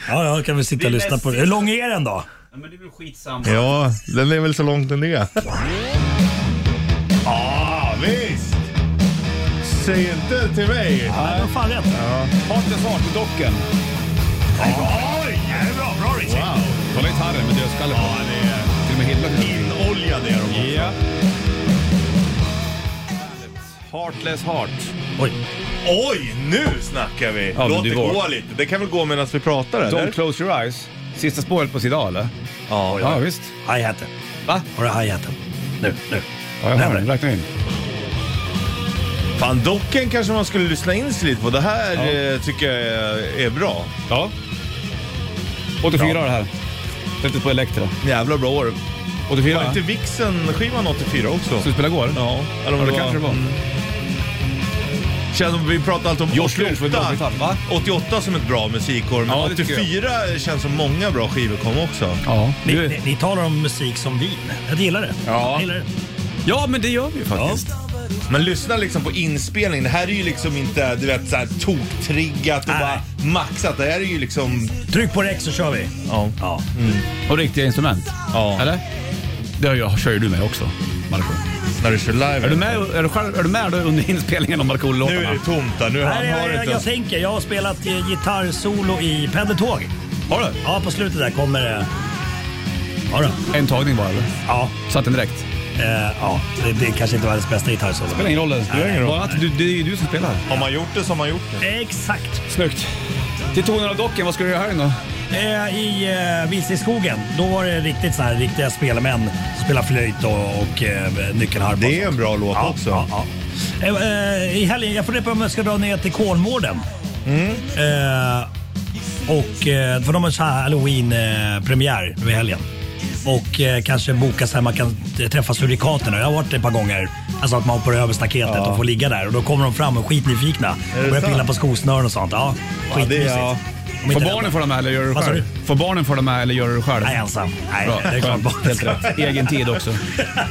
Speaker 10: Ja, jag kan väl sitta och lyssna på det. Hur lång är den då?
Speaker 2: Ja, men det är väl skitsamma.
Speaker 3: Ja, den är väl så långt den är. ah, visst! Säg inte till mig.
Speaker 10: Nej, vad fan rätt.
Speaker 2: Heartless heart med docken.
Speaker 3: Oj, det är bra. Bra Richie. Wow.
Speaker 2: Kolla gitarren med dödskalle på. Ja, det är... Till och med Hilda
Speaker 3: Inoljade är de.
Speaker 2: Ja. Heartless heart.
Speaker 10: Oj.
Speaker 3: Oj, nu snackar vi!
Speaker 2: men
Speaker 3: Låt
Speaker 2: du
Speaker 3: det
Speaker 2: var-
Speaker 3: gå lite. Det kan väl gå medan vi pratar
Speaker 2: Don't
Speaker 3: eller?
Speaker 2: close your eyes. Sista spåret på sida A, eller?
Speaker 3: Ja,
Speaker 2: Ja, visst.
Speaker 10: Hi-haten.
Speaker 2: Va?
Speaker 10: Har du hi-haten? Nu, nu.
Speaker 2: Ja, jag har
Speaker 10: Nämn
Speaker 2: den.
Speaker 10: det.
Speaker 2: Räkna in.
Speaker 3: Fan, docken kanske man skulle lyssna in sig lite på. Det här eh, tycker jag är- är bra.
Speaker 2: Ja. 84 det här. Släpptes på Elektra.
Speaker 3: Jävla bra år.
Speaker 2: 84?
Speaker 3: Var inte Vixen-skivan 84 också?
Speaker 2: Som vi spelade igår?
Speaker 3: Ja, eller
Speaker 2: Ja,
Speaker 3: om
Speaker 2: det kanske det var.
Speaker 3: Mm. Känns som vi pratar alltid om
Speaker 2: Josh Lynch var
Speaker 3: 88,
Speaker 2: bra gitarr, va?
Speaker 3: 88 som ett bra musikår, men
Speaker 2: Ja, det tycker
Speaker 3: 84 känns som många bra skivor kom också.
Speaker 2: Ja.
Speaker 10: Ni,
Speaker 2: Du-
Speaker 10: ni, ni talar om musik som vin. Jag gillar det.
Speaker 2: Ja.
Speaker 10: Jag gillar det.
Speaker 2: Ja, men det gör vi ju
Speaker 10: Ja.
Speaker 2: faktiskt.
Speaker 3: Men lyssna liksom på inspelningen. Det här är ju liksom inte du vet, så här toktriggat och
Speaker 10: Nej.
Speaker 3: bara maxat. Det här är ju liksom...
Speaker 10: Tryck på räck så kör vi.
Speaker 3: Ja.
Speaker 10: Ja.
Speaker 2: Mm. Och riktiga instrument.
Speaker 3: Ja.
Speaker 2: Eller? Det har jag, kör ju du med också, Marko.
Speaker 3: När du kör live.
Speaker 2: Är du med, är du själv, är du med då under inspelningen av
Speaker 3: Nu är
Speaker 2: Markoolio-låtarna?
Speaker 3: det tomt där. Nu har
Speaker 10: Nej,
Speaker 3: han har
Speaker 10: jag, jag,
Speaker 3: inte
Speaker 10: jag
Speaker 3: ens...
Speaker 10: tänker. Jag har spelat eh, gitarrsolo i pendeltåg.
Speaker 2: Har du?
Speaker 10: Ja, på slutet där kommer det... Ja, då.
Speaker 2: En tagning bara eller?
Speaker 10: ja,
Speaker 2: Satt den direkt?
Speaker 10: eh, ja. Det, det kanske inte var världens bästa gitarrsolo.
Speaker 2: Spelar ingen roll det. Spelar ingen roll. Bara att du, det är ju du som spelar.
Speaker 3: Har man gjort det så har man gjort det.
Speaker 10: Exakt.
Speaker 2: Snyggt. Till tonen av docken, vad ska du göra här inne då?
Speaker 10: Eh, I eh, Vilseskogen, då var det riktigt så här, riktiga spelmän. Spela flöjt och, och eh, nyckelharpa.
Speaker 3: Det är en bra låt också.
Speaker 10: Ja, ja. Eh, eh, I helgen, jag funderar på om jag ska dra ner till Kolmården. Eh, och, eh, för de har så här halloween-premiär nu i helgen. Och eh, kanske boka så här man kan t- träffa surikaterna. Jag har varit det ett par gånger. Alltså att man hoppar över staketet och får ligga där. Och då kommer de fram och är skitnyfikna.
Speaker 3: det
Speaker 10: Börjar
Speaker 3: sant?
Speaker 10: pilla på skosnören och sånt. Ja,
Speaker 3: Ja, det,
Speaker 10: skitmysigt.
Speaker 3: är- ja.
Speaker 2: Får barnen få de här eller gör du det
Speaker 10: Vad sa
Speaker 2: själv? Får barnen få de här eller gör du det själv?
Speaker 10: Nej, ensam. Nej,
Speaker 2: Bra,
Speaker 10: det är klart
Speaker 2: skönt.
Speaker 10: barnen ska.
Speaker 2: Helt rätt. Egen tid också.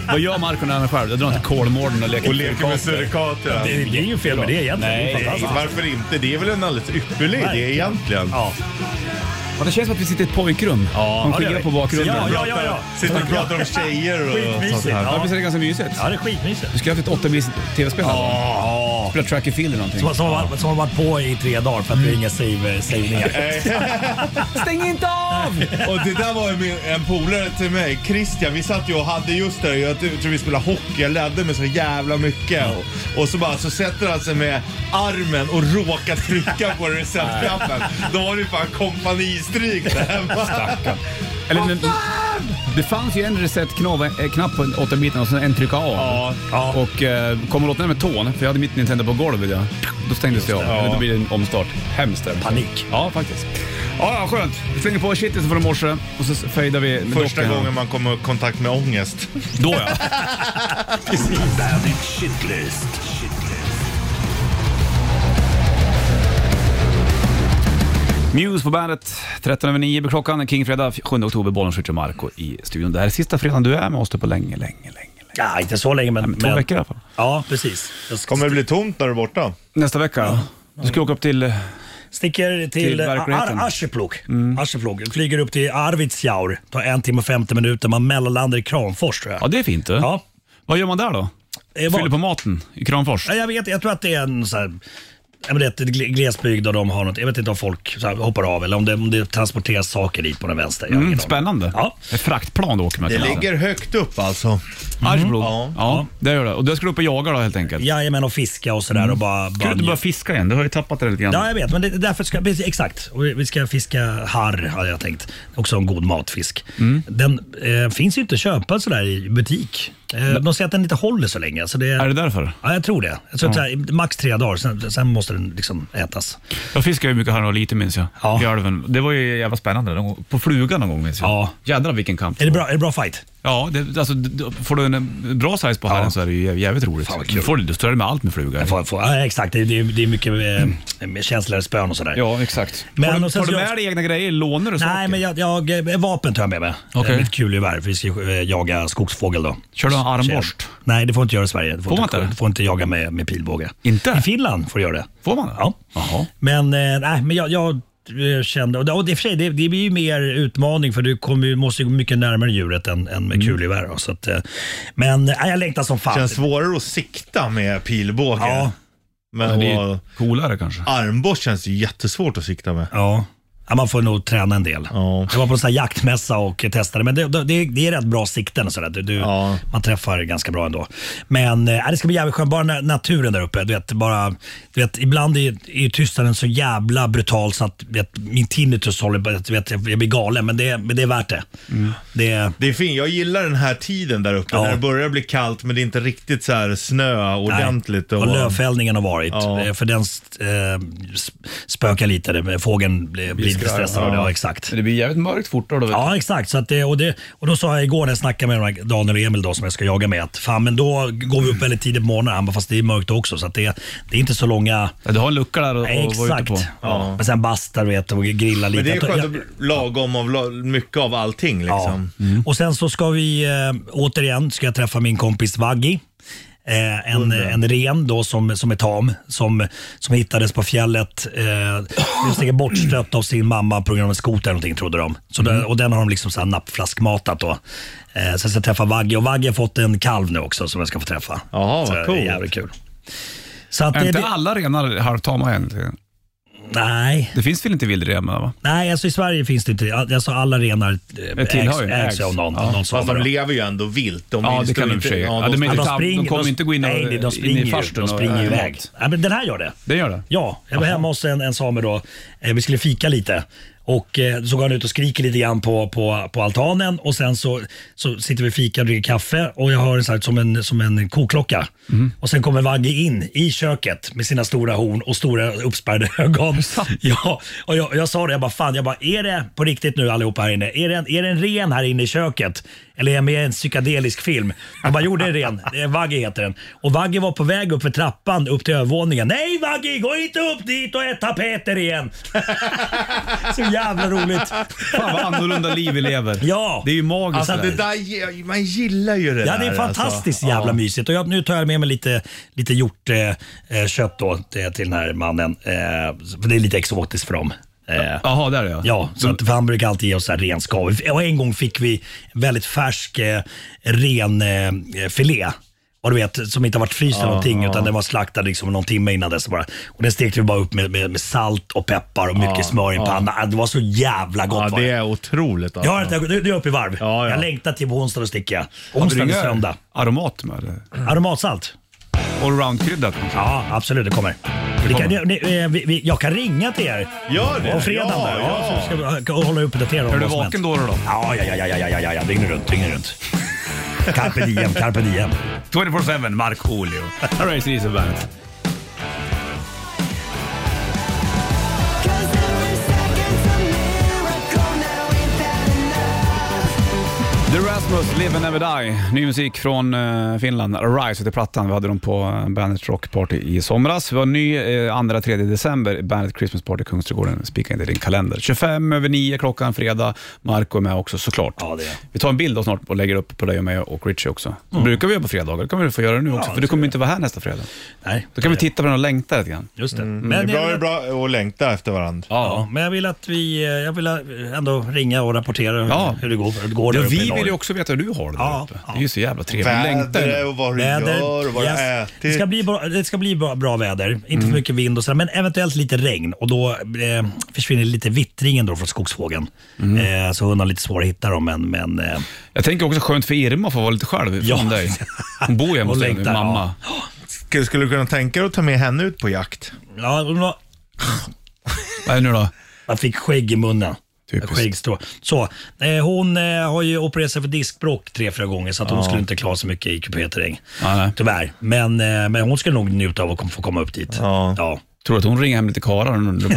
Speaker 2: Vad gör Marko när han är själv? Då drar han till Kolmården och leker
Speaker 3: Och leker med surikater.
Speaker 10: Det är inget fel med det egentligen. Det är
Speaker 3: Nej,
Speaker 10: fantastiskt.
Speaker 3: varför inte? Det är väl en alldeles ypperlig idé egentligen.
Speaker 10: Ja.
Speaker 2: Ja, det känns som att vi sitter i ett pojkrum. Ja,
Speaker 10: ja,
Speaker 2: De
Speaker 10: det gör
Speaker 2: skiljer
Speaker 10: vi.
Speaker 2: på bakgrunden.
Speaker 10: Ja, ja, ja. ja.
Speaker 3: Sitter och pratar om tjejer och
Speaker 10: Skitmysigt.
Speaker 3: sånt här.
Speaker 2: Ja,
Speaker 10: Ja.
Speaker 2: visst är det ganska mysigt?
Speaker 10: Ja, det är skitmysigt.
Speaker 2: Du skulle haft ett 8-bits tv-spel här.
Speaker 10: Ja.
Speaker 2: Spela track and field eller någonting.
Speaker 10: Som, som, har, varit- som har varit på i tre dagar för att det är inga save, savningar.
Speaker 2: Stäng inte av!
Speaker 3: Och det där var ju min- en polare till mig, Christian. Vi satt ju och hade just det, jag tror vi spelade hockey, jag ledde med så jävla mycket. Och, och så bara, så sätter han sig med armen och råkar trycka på receptknappen. Då var det ju fan kompanistryk där hemma.
Speaker 2: Eller, men, det fanns ju en reset-knapp eh, knapp på 8-biten och sen en trycka av.
Speaker 3: Ja.
Speaker 10: Ja.
Speaker 2: Och eh, kom och låt ner med tån, för jag hade mitt Nintendo på golvet. Ja. Då stängdes jag av. Eller Då blir det en omstart. Hemskt. är det.
Speaker 10: Panik.
Speaker 2: Ja, faktiskt. Ja, ja, skönt. Vi slänger på shitet från i morse och så fejdar vi med
Speaker 3: Första
Speaker 2: dockan.
Speaker 3: gången man kommer i kontakt med ångest.
Speaker 2: Då ja.
Speaker 1: Bandit Shitlist. Shitlist.
Speaker 2: Muse på bandet. 13 över 9 blir klockan. Kingfredag 7 oktober. Bollen skjuter Marco i studion. Det här är sista fredagen du är med oss på länge, länge, länge. länge.
Speaker 10: Ja, inte så länge men...
Speaker 2: Men två
Speaker 10: men-
Speaker 2: veckor i alla fall.
Speaker 10: Ja, precis. Jag sk-
Speaker 3: Kommer det bli tomt när du är borta?
Speaker 2: Nästa vecka? Du ska åka upp till... eh,
Speaker 10: sticker till,
Speaker 2: Till
Speaker 10: eh,
Speaker 2: verkligheten. Mm.
Speaker 10: Ar- Arjeplog. Arjeplog. Flyger upp till Arvidsjaur. Tar en timme och 50 minuter. Man mellanlandar i Kramfors tror jag.
Speaker 2: Ja, det är fint du.
Speaker 10: Ja.
Speaker 2: Vad gör man där då?
Speaker 10: Eh, vad-
Speaker 2: Fyller på maten i Kramfors?
Speaker 10: Ja, jag vet, jag tror att det är en så här, jag vet, ett gle- glesbygd och de har något. Jag vet inte om folk så här, hoppar av eller om det, om det transporteras saker dit på den vänster. Jag har ingen
Speaker 2: Mm,
Speaker 10: aning.
Speaker 2: spännande.
Speaker 10: Ja.
Speaker 2: Ett fraktplan du åker med.
Speaker 3: Det
Speaker 2: kan man säga.
Speaker 3: ligger högt upp alltså.
Speaker 2: Arjeplog?
Speaker 3: Ja.
Speaker 2: Ja, det gör det. Och där ska du upp och jaga då helt enkelt?
Speaker 10: Jajamän, och fiska och sådär. Och bara,
Speaker 2: Ska du
Speaker 10: bara
Speaker 2: Mm. inte börja fiska igen? Du har ju tappat det lite grann.
Speaker 10: Ja, jag vet. Men det, därför ska, precis, exakt. Och vi- vi ska fiska harr, hade jag tänkt. Också en god matfisk.
Speaker 2: Mm.
Speaker 10: Den eh, finns ju inte att köpa sådär i butik. Eh, de säger att den inte håller så länge. Så det,
Speaker 2: Är det därför?
Speaker 10: Ja, jag tror det. Jag tror att såhär, max tre dagar, sen, sen måste den liksom ätas.
Speaker 2: Jag fiskade ju mycket här och lite minns jag.
Speaker 10: Ja.
Speaker 2: I älven. Det var ju jävla spännande. Någon gång- På flugan någon gång minns jag.
Speaker 10: Ja.
Speaker 2: Jädrar vilken kamp.
Speaker 10: Är det bra, är det bra fight?
Speaker 2: Ja, det, alltså, d- får du en eh, bra size på hälen så är det ju jä- jävligt roligt.
Speaker 10: vad kul.
Speaker 2: du får du större med allt med fluga.
Speaker 10: Jag får, får, ja, exakt, det, är- det, är- det är mycket eh, med känsligare spön och sådär.
Speaker 2: Mm. Ja, exakt.
Speaker 10: Men-
Speaker 2: Men,
Speaker 10: och
Speaker 2: tar
Speaker 10: sen
Speaker 2: du
Speaker 10: så-
Speaker 2: med dig egna grejer? Lånar du saker?
Speaker 10: Nej, men jag, jag, eh, vapen tar jag med mig.
Speaker 2: Okej.
Speaker 10: Okay. Mitt kulgevär, för vi ska eh, jaga skogsfågel då.
Speaker 2: Kör du en armborst?
Speaker 10: Tjäder. Nej, det får inte göra i Sverige. Du
Speaker 2: Får man
Speaker 10: Du
Speaker 2: inte?
Speaker 10: får inte jaga med, med pilbåge.
Speaker 2: Inte?
Speaker 10: I Finland får du göra det.
Speaker 2: Får man det?
Speaker 10: Ja.
Speaker 2: Jaha.
Speaker 10: Men, eh, nej, men jag, jag eh, kände, och det, och det, i och för sig, det, det blir ju mer utmaning för du kommer, ju- måste ju gå mycket närmare djuret än, än
Speaker 2: Mm.
Speaker 10: med kulgevär. då, så att, eh, Men nej, jag längtar som fan.
Speaker 3: Känns svårare att sikta med pilbåge.
Speaker 10: ja,
Speaker 3: Men
Speaker 2: Men det är
Speaker 3: och
Speaker 2: ju coolare kanske.
Speaker 3: armborst känns ju jättesvårt att sikta med.
Speaker 10: ja. ja, man får nog träna en del.
Speaker 3: Ja.
Speaker 10: Jag var på en sån här jaktmässa och testade, men det, det, det är rätt bra sikten. och Så där. Du, du,
Speaker 3: Ja.
Speaker 10: Man träffar ganska bra ändå. Men eh, det ska bli jävligt skönt. Bara na- naturen där uppe. Du vet, bara, du vet, ibland är, är ju tystnaden så jävla brutal så att du vet, min tinnitus håller på du vet, jag blir galen, men det, men det är värt det.
Speaker 3: Mm.
Speaker 10: det
Speaker 3: Det är fint. Jag gillar den här tiden där uppe
Speaker 10: Ja.
Speaker 3: när det börjar bli kallt men det är inte riktigt så här snö ordentligt.
Speaker 10: Nej.
Speaker 3: och,
Speaker 10: Och lövfällningen har varit.
Speaker 3: Ja.
Speaker 10: Eh, För den eh, sp- spökar lite. Det- Fågeln blir, blir lite stressad av det. Ja, exakt.
Speaker 2: Det blir jävligt mörkt fort då. då vet
Speaker 10: Ja, exakt. Så att det, och, det, och då sa jag igår när jag snackade med Daniel och Emil då, som jag ska jaga med att fan, men då går vi upp väldigt tidigt på morgonen. Han bara, fast det är mörkt också så att det, det är inte så långa...
Speaker 2: du. Du har en lucka där att att vara ute
Speaker 10: exakt.
Speaker 2: på.
Speaker 10: Ja. Men sen bastar du vet, och grilla lite.
Speaker 3: Men det är
Speaker 10: Jag tar-
Speaker 3: skönt
Speaker 10: jag-
Speaker 3: att bli lagom av la- mycket av allting liksom.
Speaker 10: Ja. Och sen så ska vi eh, återigen ska jag träffa min kompis Vaggi. Eh, en, en ren då som, som är tam, som, som hittades på fjället. Eh, just det, bortstött av sin mamma på grund av en skoter eller någonting trodde de. Så den, och den har de liksom så här nappflaskmatat då. Eh, sen ska jag träffa Vaggi och Vaggi har fått en kalv nu också som jag ska få träffa.
Speaker 3: Jaha, vad
Speaker 10: så det är
Speaker 3: coolt.
Speaker 10: jävligt kul. Så att
Speaker 2: Är
Speaker 10: det,
Speaker 2: inte
Speaker 10: det,
Speaker 2: alla renar halvtama egentligen?
Speaker 10: nej,
Speaker 2: Det finns väl inte vildrenar va?
Speaker 10: nej alltså i Sverige finns det inte. Alltså alla renar eh,
Speaker 2: Det tillhör
Speaker 10: ägs,
Speaker 2: ju-
Speaker 10: ägs
Speaker 2: ägs.
Speaker 10: av någon.
Speaker 2: Ja.
Speaker 10: någon
Speaker 3: Fast de
Speaker 10: samare.
Speaker 3: lever ju ändå vilt. De
Speaker 2: Ja,
Speaker 3: är ju-
Speaker 2: det kan
Speaker 3: står
Speaker 2: de i
Speaker 3: inte-
Speaker 2: och för sig.
Speaker 3: Ja,
Speaker 2: Ja,
Speaker 3: de
Speaker 2: de, är
Speaker 10: Ja,
Speaker 2: inte
Speaker 10: de,
Speaker 2: tam,
Speaker 10: springer,
Speaker 2: de kommer inte gå in, och,
Speaker 10: nej, nej, de springer
Speaker 2: in i
Speaker 10: ju-
Speaker 2: farstun.
Speaker 10: De
Speaker 2: och-
Speaker 10: springer ju
Speaker 2: Nej,
Speaker 10: iväg. Ja, men den här gör det.
Speaker 2: Det gör det?
Speaker 10: Ja, jag var hemma hos en, en same då. Eh, Vi skulle fika lite Och eh, så går han ut och skriker lite grann på, på, på altanen och sen så, så sitter vi och fikar och dricker kaffe och jag hör en, sån här- som, en, som en koklocka.
Speaker 2: Mm.
Speaker 10: Och sen kommer Vagge in i köket med sina stora horn och stora uppspärrade ögon. Ja, och jag, jag sa det, jag bara fan, jag bara, är det på riktigt nu allihopa här inne? Är det en, är det en ren här inne i köket? Eller är jag med i en psykedelisk film? De bara, jo det är ren. Eh, Vagge heter den. Och Vagge var på väg upp för trappan upp till övervåningen. Nej Vagge, gå inte upp dit och ät tapeter igen. Så jävla roligt.
Speaker 2: Fan vad annorlunda liv vi lever.
Speaker 10: Ja.
Speaker 2: Det är ju magiskt.
Speaker 3: Alltså det där, ge- man gillar ju det
Speaker 10: Ja,
Speaker 3: där.
Speaker 10: det är fantastiskt
Speaker 3: alltså.
Speaker 10: jävla
Speaker 3: Ja.
Speaker 10: mysigt. Och jag, nu tar jag med mig lite, lite hjort, eh, eh, kött då, till till den här mannen. Eh, för det är lite exotiskt för dem. Eh,
Speaker 2: Jaha, där är jag.
Speaker 10: Ja, så att, för han brukar alltid ge oss så här ren skav. Och en gång fick vi väldigt färsk eh, ren eh, filé. Och du vet, som inte har varit fryst eller
Speaker 3: Ja,
Speaker 10: någonting
Speaker 3: ja.
Speaker 10: utan den var slaktad liksom någon timme innan dess. Bara. Och den stekte vi bara upp med, med, med salt och peppar och mycket
Speaker 3: Ja,
Speaker 10: smör i en
Speaker 3: ja.
Speaker 10: panna. Ah, Det var så jävla gott.
Speaker 3: Ja,
Speaker 10: var
Speaker 3: det är otroligt. alltså.
Speaker 10: Jag har inte, nu nu är jag uppe i varv.
Speaker 3: Ja, ja.
Speaker 10: Jag längtar till på onsdag och sticka.
Speaker 2: Hade du
Speaker 10: Onsdag eller
Speaker 2: inga
Speaker 10: söndag.
Speaker 2: Aromat med det?
Speaker 10: Aromatsalt?
Speaker 2: Allround-kryddat?
Speaker 10: Ja, absolut. Det kommer. Det kan, det, det, eh, vi, vi, jag kan ringa till er
Speaker 3: Gör det.
Speaker 10: på fredag
Speaker 3: Ja,
Speaker 10: där. Ja,
Speaker 3: ja.
Speaker 10: så ska vi ska hålla uppdaterade om
Speaker 2: Är du
Speaker 10: vad som
Speaker 2: vaken
Speaker 10: hänt.
Speaker 2: då? då? då?
Speaker 10: Ja, ja, ja, ja, ja, ja, ja, ja, dygnet runt, dygnet runt. Carpe diem, carpe diem.
Speaker 2: 24-7, Markoolio. Här är Ceezer Bandet. The Rasmus, Live and Never Die. Ny musik från eh, Finland. Rise heter plattan. Vi hade dem på eh, Bandet Rock Party i somras. Vi var ny eh, 2-3 december, Bandet Christmas Party Kungsträdgården. Spika in det i din kalender. 25 över 9 klockan fredag. Marco är med också såklart.
Speaker 10: Ja, det är.
Speaker 2: Vi tar en bild då snart och lägger upp på dig och mig och Richie också. Det brukar vi göra på fredagar. Det kommer vi få göra nu också, för du kommer inte vara här nästa fredag.
Speaker 10: Nej,
Speaker 2: Då kan vi titta på den och längta lite grann.
Speaker 10: just det.
Speaker 3: Det
Speaker 10: Men,
Speaker 3: är bra,
Speaker 10: jag
Speaker 3: det är
Speaker 10: vill,
Speaker 3: bra att längta efter varandra.
Speaker 10: ja, men jag vill att vi, eh, jag vill eh, ändå ringa och rapportera
Speaker 2: Ja.
Speaker 10: hur det går, hur det går
Speaker 2: Ja,
Speaker 10: där uppe i
Speaker 2: vi
Speaker 10: norr.
Speaker 2: vill ju också veta hur du har det där
Speaker 10: Ja,
Speaker 2: uppe.
Speaker 10: ja.
Speaker 2: Det är ju så jävla trevligt. Vi längtar ju nu.
Speaker 3: Vädret och vad du
Speaker 10: Väder.
Speaker 3: gör och vad du
Speaker 10: Yes.
Speaker 3: ätit. Mm.
Speaker 10: Det ska bli bra, det ska bli bra, bra väder. Inte för mycket vind och sådär, men eventuellt lite regn. Och då eh, försvinner lite vittringen då från skogsfågeln.
Speaker 3: Mm.
Speaker 10: Eh, så hon har lite svårt att hitta dem, men, men eh,
Speaker 2: Jag tänker också skönt för Irma att få vara lite själv
Speaker 10: Ja.
Speaker 2: från dig. Hon bor ju hemma hos
Speaker 10: Hon
Speaker 2: dig,
Speaker 10: längtar,
Speaker 2: mamma.
Speaker 3: Skulle- Skulle du kunna tänka dig att ta med henne ut på jakt?
Speaker 10: ja, hon har,
Speaker 2: Vad är det nu då?
Speaker 10: man fick skägg i munnen.
Speaker 2: Typiskt.
Speaker 10: Skäggstrå. Så, eh, hon eh, har ju opererat sig för diskbråck tre, fyra gånger så att hon skulle inte klara sig mycket i kupéterräng.
Speaker 2: Ja, nej.
Speaker 10: Tyvärr. Men, eh, men hon skulle nog njuta av att kom- få komma upp dit.
Speaker 3: Ja.
Speaker 10: Ja.
Speaker 2: Tror du att hon ringer hem lite karlar? nu?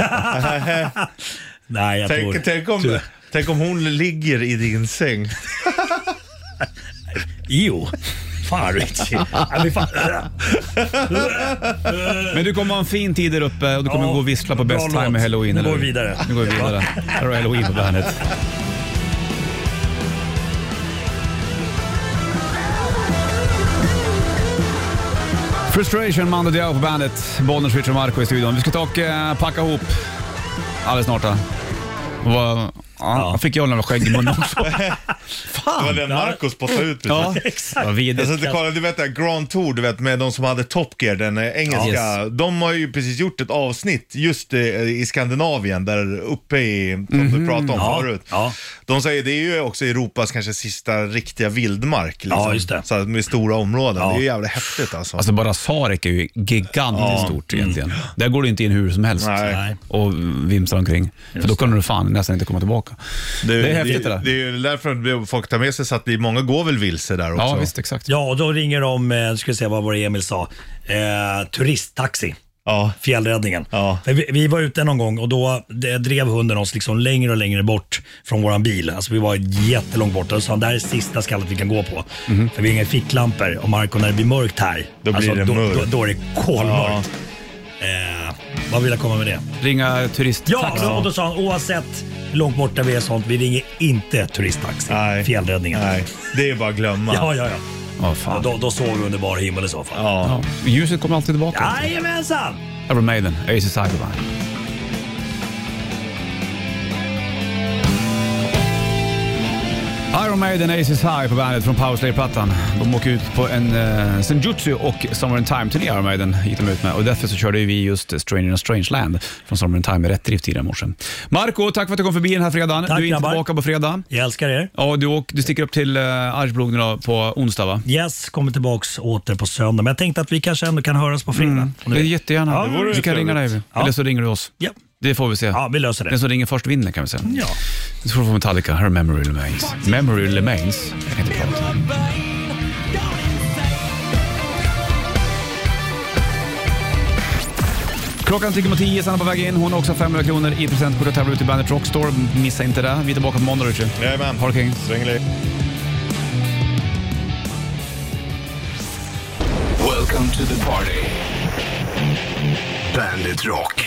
Speaker 10: Nej, jag tror...
Speaker 3: Tänk, tänk, om,
Speaker 10: Tyvärr.
Speaker 3: tänk om hon ligger i din säng.
Speaker 10: Jo. Fan Richie. Ja, men fan. äh.
Speaker 2: Men du kommer ha en fin tid där uppe och du kommer
Speaker 10: Ja,
Speaker 2: gå och vissla på
Speaker 10: bra
Speaker 2: Best time
Speaker 10: låt.
Speaker 2: med Halloween.
Speaker 10: Nu
Speaker 2: eller
Speaker 10: går
Speaker 2: hur?
Speaker 10: vi vidare.
Speaker 2: Nu går vi vidare. Här har Halloween på bandet. Frustration, Mando Diao på bandet. Bollnäs, Richard och Marco i studion. Vi ska ta och eh, packa ihop alldeles snart. Då. Och vad- Ja, jag fick jag några skägg i munnen också.
Speaker 3: Det var
Speaker 2: Fan!
Speaker 3: den Marco spottade ut. precis.
Speaker 2: Ja,
Speaker 10: Exakt. Alltså,
Speaker 2: vad
Speaker 3: Jag
Speaker 2: vidrigt.
Speaker 3: satt och kollade, du vet det här Grand Tour, du vet med de som hade Top Gear, den eh, engelska.
Speaker 2: Ja.
Speaker 3: De har ju precis gjort ett avsnitt just eh, i Skandinavien, där uppe i, som du pratade om
Speaker 10: Ja,
Speaker 3: förut.
Speaker 10: ja.
Speaker 3: De säger det är ju också Europas kanske sista riktiga vildmark. Liksom.
Speaker 10: Ja, just det.
Speaker 3: Så att med stora områden.
Speaker 10: Ja.
Speaker 3: Det är ju jävligt häftigt alltså.
Speaker 2: Alltså bara Sarek är ju gigantiskt stort egentligen. Där går du inte in hur som helst
Speaker 3: Nej.
Speaker 10: Nej.
Speaker 2: och vimsar omkring. För då kommer du fan nästan inte komma tillbaka. Det, är häftigt det,
Speaker 3: det,
Speaker 2: där.
Speaker 3: det är ju därför folk tar med sig så att det är många går väl vilse där också.
Speaker 2: ja, visst exakt.
Speaker 10: Ja, och då ringer de, eh, nu ska vi se vad var det Emil sa, eh, turisttaxi.
Speaker 3: Ja.
Speaker 10: Fjällräddningen.
Speaker 3: Ja.
Speaker 10: För vi, vi var ute någon gång och då det, drev hunden oss liksom längre och längre bort från våran bil. Alltså vi var jättelångt bort. Och sa han, det här är sista skallet vi kan gå på. För vi har inga ficklampor och Marco, när det blir mörkt här,
Speaker 3: Mhm. Då blir
Speaker 10: alltså,
Speaker 3: det
Speaker 10: då,
Speaker 3: mörkt.
Speaker 10: Då, då är det kolmörkt. Eh, vad vill jag komma med det?
Speaker 2: Ringa
Speaker 10: Ja,
Speaker 2: turisttaxi.
Speaker 10: då, och då sa han oavsett hur långt borta vi är sånt, vi ringer inte turisttaxi.
Speaker 3: Nej.
Speaker 10: Fjällräddningen.
Speaker 3: Nej, det är bara att glömma.
Speaker 10: Ja, ja, ja.
Speaker 2: Ja,
Speaker 10: Och
Speaker 2: fan.
Speaker 10: Då, då såg vi under bar himmel i så fall.
Speaker 3: Ja.
Speaker 2: Ja, ljuset kommer alltid tillbaka.
Speaker 10: Jajamensan!
Speaker 2: Iron Maiden, Ace Cyberbank. Iron Maiden, Aces High på bandet från Powerslave-plattan. De åker ut på en eh, Senjutsu och Summer in Time-turné, Iron Maiden, gick de ut med. Och därför så körde vi just Stranger in a Strange Land från Summer in Time med rätt drift tidigare i morse. Marco, tack för att du kom förbi den här fredagen.
Speaker 10: Tack,
Speaker 2: du är inte
Speaker 10: grabbar.
Speaker 2: tillbaka på fredag.
Speaker 10: Jag älskar er.
Speaker 2: Ja, du, åk, du sticker upp till eh, Arjeplog nu då på onsdag, va?
Speaker 10: Yes, kommer tillbaks åter på söndag. Men jag tänkte att Mm. vi kanske ändå kan höras på fredag. Om
Speaker 2: Det
Speaker 10: du
Speaker 2: är
Speaker 10: vill.
Speaker 2: jättegärna.
Speaker 10: Ja, det vore
Speaker 2: vi kan ringa dig,
Speaker 10: Ja.
Speaker 2: eller så ringer du oss.
Speaker 10: Ja.
Speaker 2: Det Det får vi se. Ja,
Speaker 10: vi löser det.
Speaker 2: Den som ringer först vinner kan vi säga.
Speaker 10: Ja.
Speaker 2: Nu ska du få Metallica, här är Memory Remains. Memory Remains. Jag kan inte prata. Klockan tickar mot tio, Sanna på väg in. Hon har också 500 kronor i presentkort att tävla ut i Bandet Rockstore. Missa inte det. Vi är tillbaka på måndag, Richie.
Speaker 3: Jajamän.
Speaker 2: Ha det king.
Speaker 1: Welcome to the party. Bandit Rock.